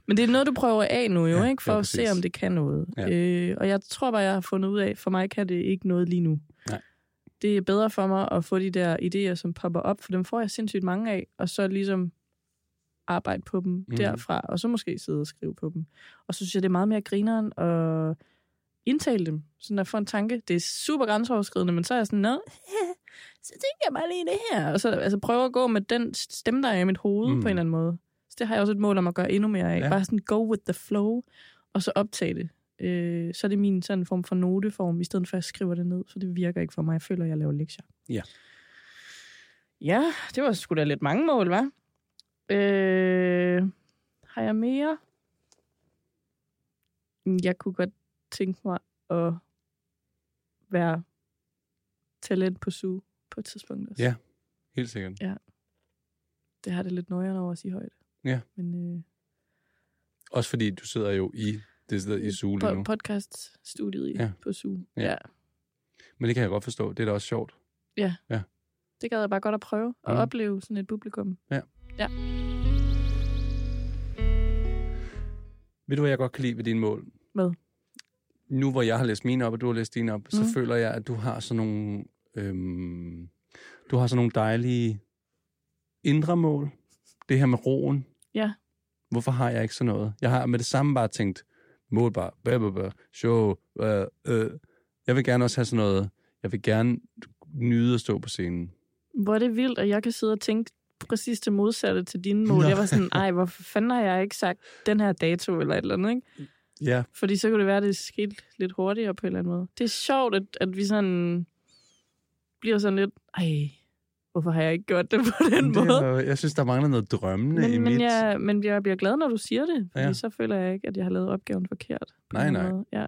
Men det er noget, du prøver af nu jo, Ja, ja, ikke? For ja, ja, at se, præcis. om det kan noget. Ja. Øh, og jeg tror bare, jeg har fundet ud af, for mig kan det ikke noget lige nu. Nej. Det er bedre for mig at få de der idéer, som popper op, for dem får jeg sindssygt mange af, og så ligesom arbejde på dem Mhm. mm. derfra, og så måske sidde og skrive på dem. Og så synes jeg, det er meget mere grineren at indtale dem, sådan at få en tanke. Det er super grænseoverskridende, men så er jeg sådan, nå, så tænker jeg bare lige det her. Og så altså, prøve at gå med den stemme, der er i mit hoved Mm. mm. på en eller anden måde. Så det har jeg også et mål om at gøre endnu mere af. Ja. Ja. Bare sådan go with the flow, og så optage det. Øh, så er det min sådan form for noteform, i stedet for at jeg skriver det ned, for det virker ikke for mig. Jeg føler, at jeg laver lektier. Ja. Ja, det var sgu da lidt mange mål, hva'? Øh, har jeg mere? Jeg kunne godt tænke mig at være talent på SU på et tidspunkt også. Ja. Helt sikkert. Det har det lidt nøjere over at sige højt. Ja. Men øh, Også fordi du sidder jo i det sidder i Zulu po- nu. podcaststudiet Ja. ja. på SU. Ja. Ja. ja. Men det kan jeg godt forstå. Det er da også sjovt. Det gad jeg bare godt at prøve at Mm. opleve sådan et publikum. Ved du, hvad jeg godt kan lide ved dine mål? Hvad? Nu, hvor jeg har læst mine op, og du har læst dine op, mm. så Mhm. føler jeg, at du har sådan nogle... Øhm, du har sådan nogle dejlige indre mål. Det her med roen. Ja. Hvorfor har jeg ikke sådan noget? Jeg har med det samme bare tænkt, mål bare, bæ, bæ, bæ, show, øh, øh. Jeg vil gerne også have sådan noget. Jeg vil gerne nyde at stå på scenen. Hvor er det vildt, at jeg kan sidde og tænke præcis det modsatte til dine mål. Nå. Nå. Jeg var sådan, ej, hvorfor fanden har jeg ikke sagt den her dato eller et eller andet, ikke? Ja, Fordi så kunne det være, at det skete lidt hurtigere på en eller anden måde. Det er sjovt, at, at vi sådan bliver sådan lidt, ej, hvorfor har jeg ikke gjort det på den det måde? er, jeg synes, der mangler noget drømmende i Men, mit... men, jeg, men jeg bliver glad, når du siger det, fordi Ja. ja. så føler jeg ikke, at jeg har lavet opgaven forkert. på Nej, den nej. Måde. Ja.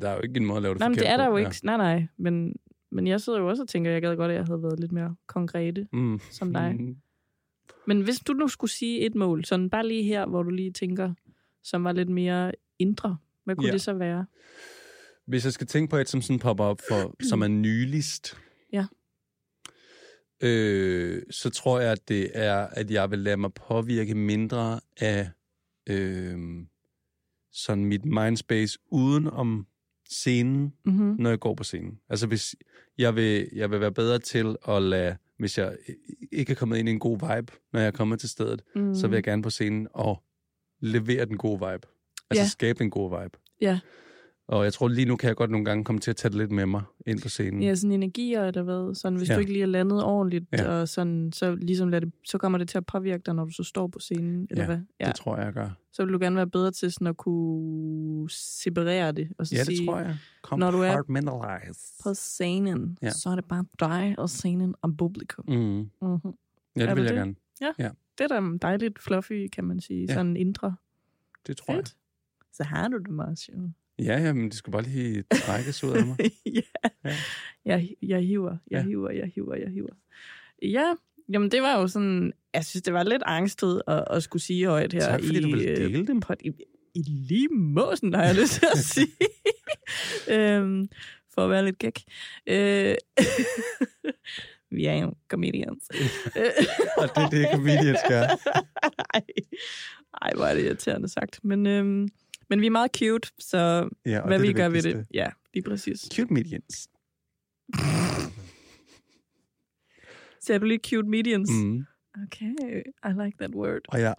Der er jo ikke en måde at lave det Nej, men forkert det er der på. jo ikke. Ja. Nej, nej. Men, men jeg sidder jo også og tænker, at jeg gad godt, at jeg havde været lidt mere konkrete Ja. Mm. som dig. Mm. Men hvis du nu skulle sige et mål, sådan bare lige her, hvor du lige tænker, som var lidt mere indre, hvad kunne Ja. ja. det så være? Hvis jeg skal tænke på et, som sådan popper op for, som er nyligst, Ja. øh, så tror jeg, at det er, at jeg vil lade mig påvirke mindre af øh, sådan mit mindspace uden om scenen, Mm-hmm. når jeg går på scenen. Altså hvis jeg vil, jeg vil være bedre til at lade, hvis jeg ikke er kommet ind i en god vibe, når jeg er kommet til stedet, Mm. så vil jeg gerne på scenen og levere den gode vibe. Altså ja. Ja. skabe en god vibe. Ja. Og jeg tror lige nu kan jeg godt nogle gange komme til at tage det lidt med mig ind på scenen. Ja, sådan energier eller hvad. Sådan, hvis Mm. Ja. ja. du ikke lige er landet ordentligt, Ja. ja. og sådan, så, ligesom lader det, så kommer det til at påvirke dig, når du så står på scenen, eller Ja, ja. hvad? Ja. Det tror jeg, jeg gør. Så vil du gerne være bedre til sådan at kunne separere det, og så Ja, det sige, tror jeg. når du er- Compartmentalize. på scenen, Ja. ja. så er det bare dig og scenen og publikum. Mm. Mm-hmm. Ja, det Er vil du jeg det? gerne. Det er da dejligt fluffy, kan man sige, Ja. ja. sådan indre. Det tror jeg. Fedt. Så har du det meget sjovt. Ja, ja, men det skulle bare lige trækkes ud af mig. ja. Ja. Jeg, jeg hiver, jeg Ja. hiver, jeg hiver, jeg hiver. Ja, jamen det var jo sådan, jeg synes, det var lidt angstet at, at skulle sige højt her. Tak, fordi i, du ville øh, dele dem. Pot, i, I lige måsen, har jeg lyst til at sige. øhm, for at være lidt gæk. Øh, vi er jo comedians. Og det er det, comedians gør. Ej, Ej, hvor er det irriterende sagt. Men, øhm, men vi er meget cute, så Ja, og hvad det er vi gør ved vigtigste. det. Ja, lige præcis. Cute medians. Ser du lige cute medians? Mm. Okay, I like that word. Og jeg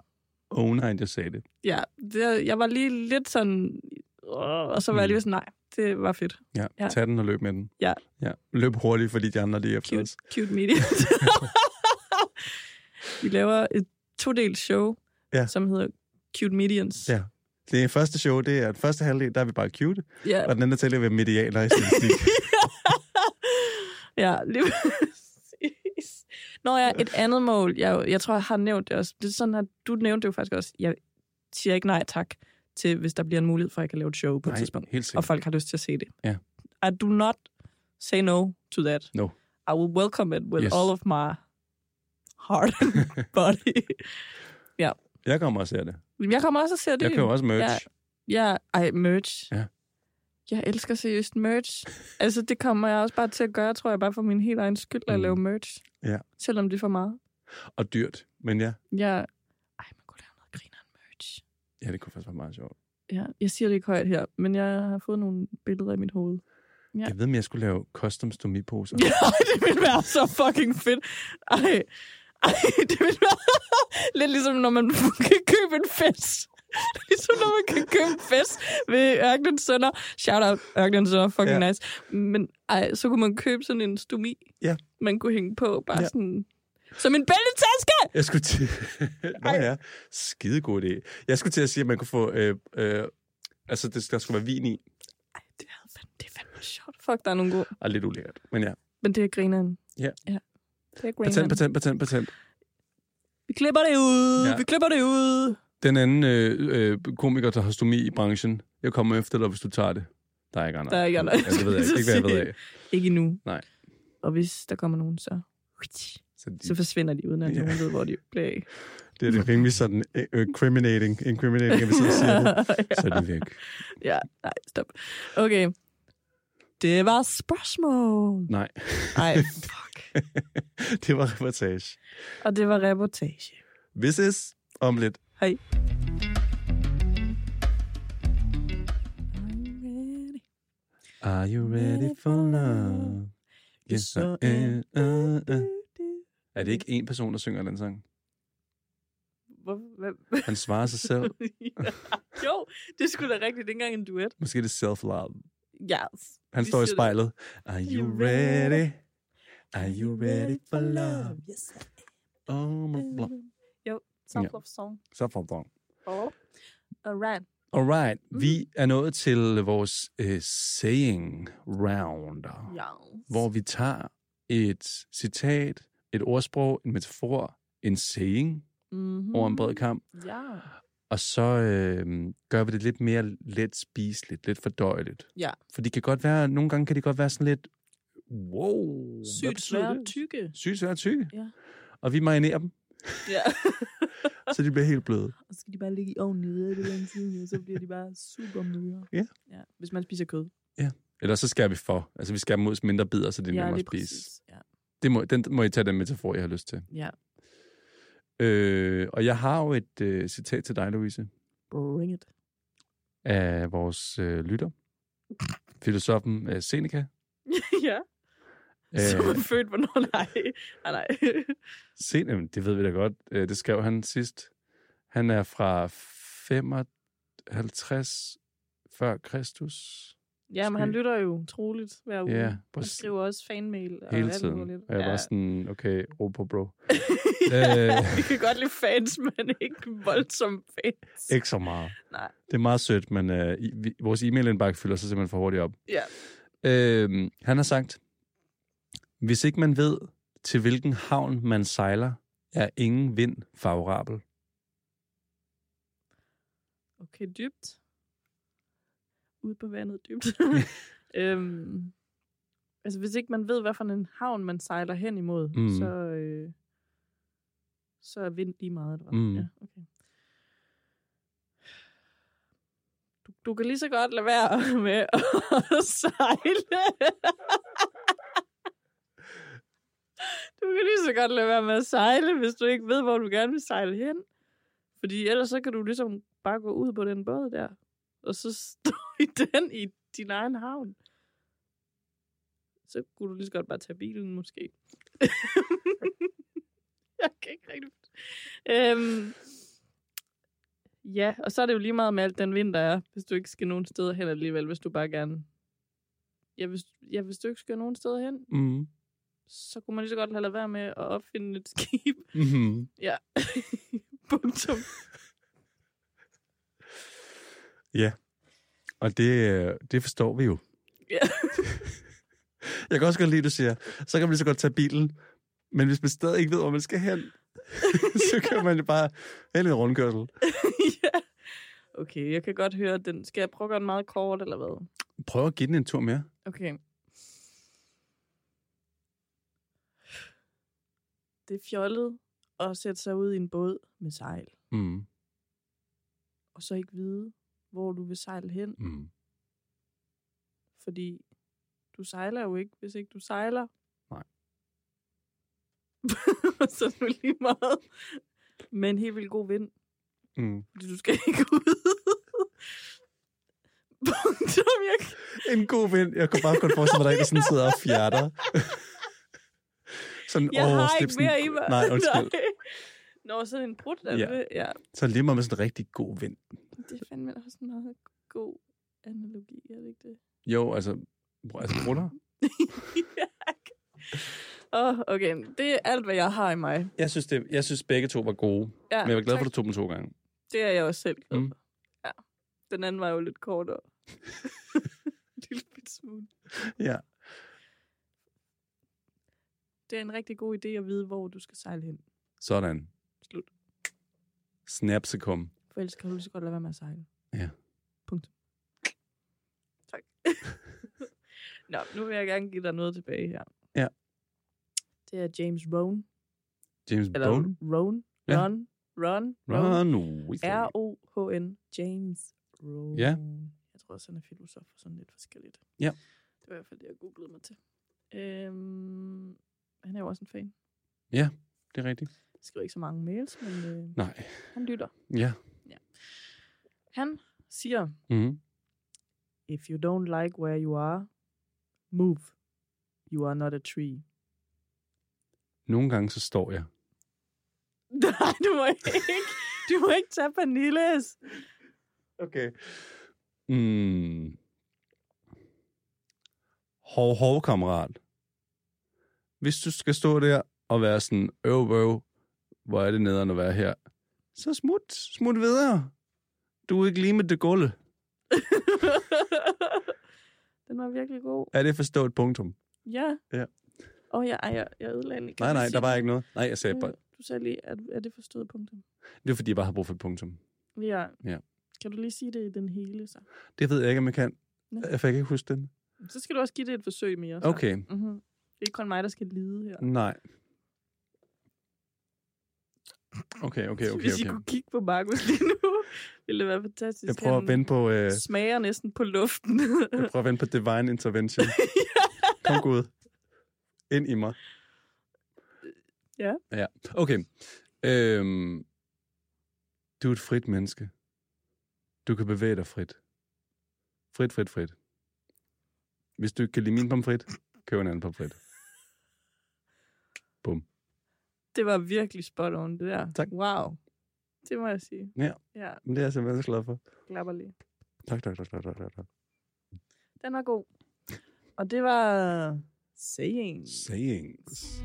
owner, at jeg sagde det. Ja, det, jeg var lige lidt sådan... "Åh," Og så var jeg Mm. lige sådan, nej, det var fedt. Ja, Ja. ja. tag den og løb med den. Ja. ja. Løb hurtigt, fordi de andre lige er efter Cute, os. cute medians. Vi laver et todelt show, Ja. som hedder Cute Medians. Ja. Det første show, det er at første halvdel, der er vi bare cute, ja. og den anden tæller vi medianer i statistik. ja, lige præcis. Nå ja, et andet mål, jeg, jeg tror, jeg har nævnt det også. Det er sådan, at du nævnte det jo faktisk også. Jeg siger ikke nej tak til, hvis der bliver en mulighed for, at jeg kan lave et show på et tidspunkt. helt og sikkert. folk har lyst til at se det. Ja. I do not say no to that. No. I will welcome it with Yes. all of my heart and body. Jeg kommer og ser det. Men Jeg kommer også og ser det. Jeg køber også merch. Mm. Ja. Ja, ej, merch. Ja. Jeg elsker seriøst merch. altså, det kommer jeg også bare til at gøre, tror jeg, bare for min helt egen skyld at Mm. lave merch. Ja. Selvom det er for meget. Og dyrt. Men ja. Jeg... Ej, man kunne lave noget grineren merch. ja, det kunne faktisk være meget sjovt. Ja, jeg siger det ikke højt her, men jeg har fået nogle billeder i mit hoved. Ja. Ja. Jeg ved, om jeg skulle lave custom-stomiposer. Ja, det ville være så fucking fedt. Ej, ej det ville være lidt ligesom, når man kan købe en fest. Ligesom når man kan købe en fest ved Ørkenens Sønder. Shout out Ørkenens Sønder, fucking ja. Ja. nice. Men ej, så kunne man købe sådan en stomi, Ja. man kunne hænge på, bare ja. Ja. sådan... Som en bæltetaske! Jeg skulle til... Nå ja, skide god idé. Jeg skulle til at sige, at man kunne få... Øh, øh, altså, det, der skulle være vin i, Ej, det er fandme, det er fandme sjovt. Fuck, der er nogle gode. og lidt ulækkert. Men ja, Men det er grineren. Ja. ja. Det er patent, grineren. patent, patent, patent. Vi klipper det ud, ja. Ja. vi klipper det ud. Den anden øh, øh, komiker, der har stomi i branchen, jeg kommer efter dig, hvis du tager det. Der er ikke andre. Der er ikke andre. Ja, det ved jeg ikke, ikke hvad jeg ved af. Ikke endnu. Nej. Og hvis der kommer nogen, så... Så de, så forsvinder de, uden at Ja. nogen ved, hvor de bliver af. det er det rimelig sådan øh, øh, criminating, incriminating, at vi så siger det. Så er de væk. ja, nej, stop. Okay. Det var spørgsmål. Nej, Nej, fuck. det var reportage. Og det var reportage. Vi ses om lidt. Hej. I'm ready. Are you ready for love? Yes, I Så am. Uh, uh. Du-du. Er det ikke en person, der synger den sang? Hvor- hvad- Han svarer sig selv. Ja. Jo, det skulle da rigtigt. Det er ikke engang en duet. Måske det er self-love. Ja. Han Vi står i siger det. spejlet. Are you ready? Are you ready for love? Yes. Oh, my love. Jo, self-love song. Så får du Oh. Alright. Alright, Mm. vi er nået til vores uh, saying round, yeah. Yes. hvor vi tager et citat, et ordsprog, en metafor, en saying mm-hmm. mm. over en bred kamp, Ja. og så øh, gør vi det lidt mere let spiseligt, lidt fordøjeligt. Ja. For de kan godt være, nogle gange kan de godt være sådan lidt, wow, hvad Sygt betyder svære det? tykke. Sygt svære tykke. Ja. Og vi marinerer dem, Ja. så de bliver helt bløde. og så skal de bare ligge i ovnen i rigtig lang tid, og så bliver de bare super møre. Ja. ja. Hvis man spiser kød. Eller så skærer vi for. Altså, vi skærer dem ud til mindre bidder, så det er ja, nemmere at lige spise. præcis. Ja. Det må, den må I tage den metafor, jeg har lyst til. ja. Øh, og jeg har jo et øh, citat til dig, Louise, Bring it. af vores øh, lytter. Filosofen øh, Seneca. ja. Som Øh, er født, hvornår? Nej. Ah, nej. Sen- jamen, det ved vi da godt. Øh, det skrev han sidst. Han er fra 55 før Kristus. ja, men han lytter jo troligt hver uge. Ja, Uh, Han præcis. skriver også fanmail. Og Hele alt tiden. muligt. Og jeg ja. var sådan, okay, ro på bro. ja, Øh. vi kan godt lide fans, men ikke voldsomme fans. Ikke så meget. Nej. Det er meget sødt, men øh, i, vi, vores e-mailindbakke fylder sig simpelthen for hurtigt op. Ja. Øh, han har sagt, hvis ikke man ved, til hvilken havn man sejler, er ingen vind favorabel. Okay, dybt. Ude på vandet dybt. øhm, altså, hvis ikke man ved, hvad for en havn man sejler hen imod, mm. Mm. så, øh, så er vind lige meget. Eller? hvad? Mm. Ja, okay. du, du kan lige så godt lade være med at sejle. Du kan lige så godt lade være med at sejle, hvis du ikke ved, hvor du gerne vil sejle hen. Fordi ellers så kan du ligesom bare gå ud på den båd der, og så stå i den i din egen havn. Så kunne du lige så godt bare tage bilen måske. jeg kan ikke rigtig... Øhm, ja, og så er det jo lige meget med alt den vind, der er, hvis du ikke skal nogen steder hen alligevel, hvis du bare gerne... Ja, hvis, ja, hvis du ikke skal nogen steder hen, Mm. så kunne man lige så godt have lavet være med at opfinde et skib. Mm-hmm. Ja. Punktum. Og det, øh, det forstår vi jo. Ja. jeg kan også godt lide, du siger, så kan man lige så godt tage bilen, men hvis man stadig ikke ved, hvor man skal hen, så kan man jo bare have en rundkørsel. ja. Okay, jeg kan godt høre den. Skal jeg prøve at gøre den meget kort, eller hvad? Prøv at give den en tur mere. Okay. Det er fjollet at sætte sig ud i en båd med sejl, Mm. og så ikke vide, hvor du vil sejle hen, Mm. fordi du sejler jo ikke, hvis ikke du sejler. Nej. så er det jo lige meget. Men helt vildt god vind, Mm. fordi du skal ikke ud. Punktum, jeg kan En god vind. Jeg kunne bare godt forestille mig, at der ikke sådan sidder og fjerter. sådan, Jeg åh, har slip ikke sådan- mere i mig. Nej, undskyld. Nej. Nå, sådan en brud af Ja. ja. det. Ja, Så lige med sådan en rigtig god vind. det er fandme også en meget god analogi, er det ikke det? Jo, altså, br- altså brutter. Åh, oh, okay. Det er alt, hvad jeg har i mig. Jeg synes, det, jeg synes begge to var gode, Ja, men jeg var glad for, at tak. du tog dem to gange. Det er jeg også selv glad Mm. for. Ja. Den anden var jo lidt kortere. en lille bitte smule. Ja. Det er en rigtig god idé at vide, hvor du skal sejle hen. Sådan. Slut. Snapsicum. For ellers kan du lige så godt lade være med at sejle. Ja. Punkt. Tak. Nå, nu vil jeg gerne give dig noget tilbage her. Ja. Det er James Rohn. James Eller Bone. Rohn. Ja. Ron. Ron. Run with it. R-O-H-N. James Rohn. Ja. Jeg tror også, han er filosof og sådan lidt forskelligt. Ja. Det var i hvert fald det, jeg googlede mig til. Øhm, han er jo også en fan. Det er rigtigt. Skriver ikke så mange mails, men øh, Nej. han lytter. Ja. Han siger, Mm. If you don't like where you are, move. You are not a tree. Nogle gange så står jeg. Nej, du må ikke. Du må ikke tage Pernilles. Okay. Mm. Hov, hov, kammerat. Hvis du skal stå der og være sådan, øv, øv, hvor er det nederen at være her, så smut, smut videre. Du er ikke lige med det gulve. Den var virkelig god. Er det forstået et punktum? Ja. Ja. Åh, oh, jeg, ej, jeg, jeg ødelagde den. Kan Nej, du nej, sige der var det? ikke noget. Nej, jeg sagde bare, Øh, Du sagde lige, at er det forstået punktum? det var fordi, jeg bare havde brug for et punktum. Ja. Ja. Kan du lige sige det i den hele, så? Det ved jeg ikke, om jeg kan. Nå. Jeg fik ikke huske den. Så skal du også give det et forsøg mere. Så. Okay, Mm-hmm. Det er ikke kun mig, der skal lide her. nej. Okay, okay, okay, Hvis I okay. kunne kigge på Markus lige nu, ville det være fantastisk. Jeg prøver at Han- vende på... Øh, smager næsten på luften. Jeg prøver at vende på divine intervention. Kom Gud. Ind i mig. Ja. Ja, okay. Øhm, du er et frit menneske. Du kan bevæge dig frit. Frit, frit, frit. Hvis du ikke kan lide min pomfrit, køb en anden pomfrit. det var virkelig spot on, det der. Tak. Wow. Det må jeg sige. Ja. Ja, Men det er jeg simpelthen så glad for. klapper lige. Tak, tak, tak, tak, tak, tak, tak. Den var god. Og det var saying. Sayings.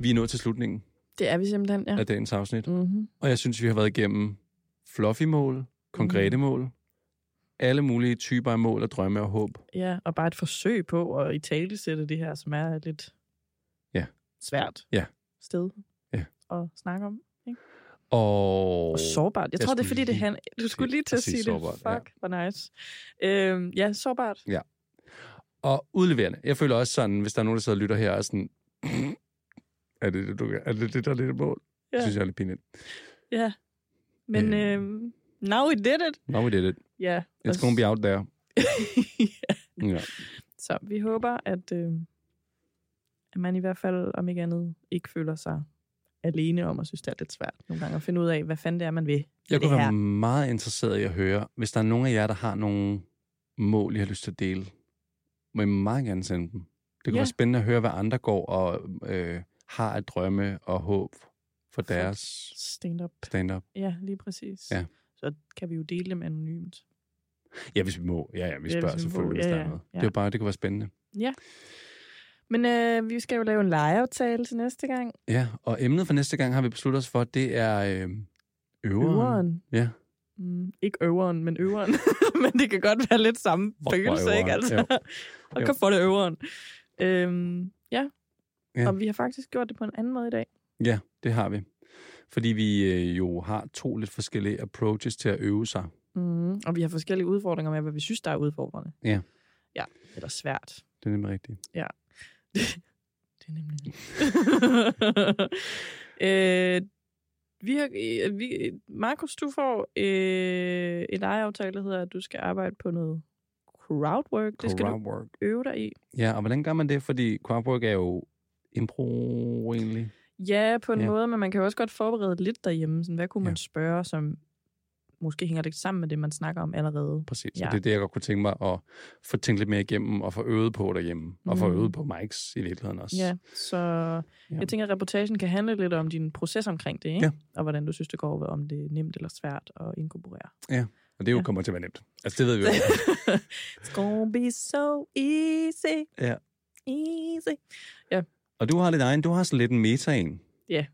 Vi er nået til slutningen Det er vi simpelthen, ja. af dagens afsnit. Mm-hmm. Og jeg synes, vi har været igennem fluffy mål, konkrete mål, alle mulige typer af mål og drømme og håb. Ja, og bare et forsøg på at i tale sætte det her, som er et lidt Ja. svært Ja. sted Ja. at snakke om. Og, Og sårbart. Jeg, Jeg tror, det er skulle fordi, det lige han... Du skulle lige til at sige sige, sårbart, det. ja. Fuck, ja. hvor nice. Øhm, ja, sårbart. og udleverende. Jeg føler også sådan, hvis der er nogen, der sidder og lytter her, og er sådan, er det det, du, er det, det der er lidt mål? Ja. Ja. Det synes jeg er lidt pinligt. Ja. Men Øhm. øhm, now we did it. Now we did it. Ja. It's gonna be out there. Ja. Så vi håber, at, øh, at man i hvert fald, om ikke andet, ikke føler sig alene om at synes, det er lidt svært nogle gange at finde ud af, hvad fanden det er, man vil. Jeg kunne det være her. meget interesseret i at høre, hvis der er nogen af jer, der har nogle mål, I har lyst til at dele, må I meget gerne sende dem. kunne Ja. være spændende at høre, hvad andre går og øh, har af drømme og håb for deres Stand-up. stand-up. Ja, lige præcis. Ja. Så kan vi jo dele dem anonymt. Ja, hvis vi må. Ja, ja, vi Ja, spørger ja, hvis vi må. selvfølgelig, hvis Ja, der er ja, noget. ja. Det, var bare, det kunne være spændende. Men øh, vi skal jo lave en legeaftale til næste gang. Ja, og emnet for næste gang har vi besluttet os for, det er øh, øveren. Øveren. Ja. Mm, ikke øveren, men øveren. men det kan godt være lidt samme Fuck, hvor følelse, øveren. ikke? Altså, Jo. og Jo. kan få det øveren. Øhm, ja. Ja. ja. Og vi har faktisk gjort det på en anden måde i dag. Ja, det har vi. Fordi vi øh, jo har to lidt forskellige approaches til at øve sig. Mm, og vi har forskellige udfordringer med, hvad vi synes, der er udfordrende. Ja. Ja, eller svært. Det er nemlig rigtigt. Det er nemlig det. øh, vi har, øh, vi, Markus, du får øh, en lejeaftale, der hedder, at du skal arbejde på noget crowdwork. Det skal du Crowdwork. øve dig i. Ja, og hvordan gør man det? Fordi crowdwork er jo impro egentlig. Ja, på en Ja. ja. måde, men man kan jo også godt forberede lidt derhjemme. Sådan, hvad kunne man Ja. ja. spørge, som måske hænger lidt sammen med det, man snakker om allerede. Præcis. Ja. Ja. Og det er det, jeg godt kunne tænke mig at få tænkt lidt mere igennem og få øvet på derhjemme. Mm. Og få Mm. øvet på mics i virkeligheden også. Ja, så Ja. ja. jeg tænker, at reportagen kan handle lidt om din proces omkring det, ikke? Ja. og hvordan du synes, det går, om det er nemt eller svært at inkorporere. Og det er jo Ja. kommer til at være nemt. Altså, det ved vi jo. It's gonna be so easy. Ja. Easy. Og du har lidt egen, du har sådan lidt en meta en. Ja.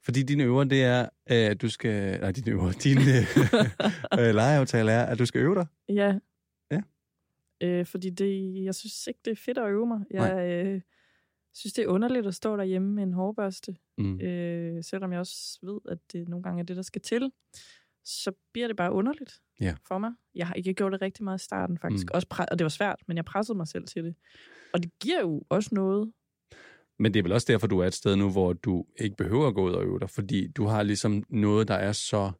Fordi din øver, det er, øh, at du skal... Nej, din øver, din øh, øh, legeaftale er, at du skal øve dig. Ja. Ja. Øh, fordi det, jeg synes ikke, det er fedt at øve mig. Jeg øh, synes, det er underligt at stå derhjemme med en hårbørste. Mm. Øh, selvom jeg også ved, at det nogle gange er det, der skal til. Så bliver det bare underligt Ja. for mig. Jeg har ikke gjort det rigtig meget i starten, faktisk. Mm. Mm. Også pre- og det var svært, men jeg pressede mig selv til det. Og det giver jo også noget. Men det er vel også derfor, du er et sted nu, hvor du ikke behøver at gå ud og øve dig, fordi du har ligesom noget, der er så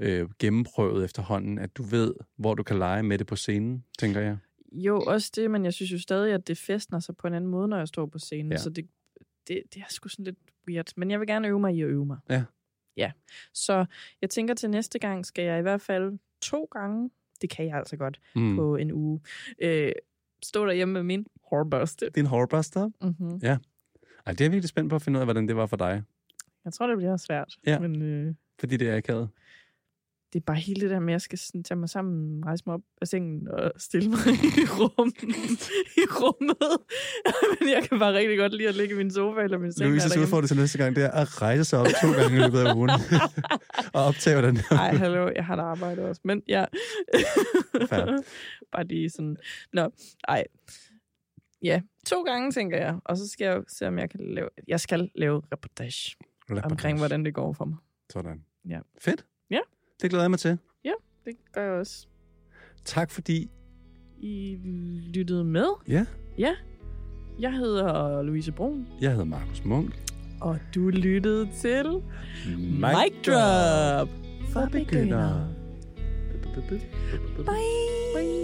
øh, gennemprøvet efterhånden, at du ved, hvor du kan lege med det på scenen, tænker jeg. Jo, også det, men jeg synes jo stadig, at det festner sig på en anden måde, når jeg står på scenen. Ja. Ja. Så det, det, det er sgu sådan lidt weird. Men jeg vil gerne øve mig i at øve mig. Ja. Ja. Så jeg tænker til næste gang skal jeg i hvert fald to gange, det kan jeg altså godt, Mm. mm. på en uge, øh, stå derhjemme med min hårbørste. Din hårbuster. Mm-hmm. Ej, det er jeg virkelig spændt på at finde ud af, hvordan det var for dig. Jeg tror, det bliver svært. Ja. Men øh, Fordi det er akavet. det er bare hele det der med, at jeg skal sådan, tage mig sammen, rejse mig op af sengen og stille mig i, rum, i rummet. Men jeg kan bare rigtig godt lide at ligge i min sofa eller min seng. når jeg er Louise's derhjemme. udfordring til næste gang, det er at rejse sig op to gange i løbet af ugen og optage, hvordan det Ej, hallo, jeg har da arbejdet også. Men ja. Fair. Bare lige sådan. Nå, ej. Ja, to gange, tænker jeg. Og så skal jeg jo se, om jeg kan lave... Jeg skal lave reportage omkring, hvordan det går for mig. Sådan. Ja. Fedt. Ja. Det glæder jeg mig til. Det gør jeg også. Tak fordi... I lyttede med. Ja. Ja. Jeg hedder Louise Brun, Jeg hedder Markus Munk. og du lyttede til... Mic Drop! For begyndere. Bye! Bye.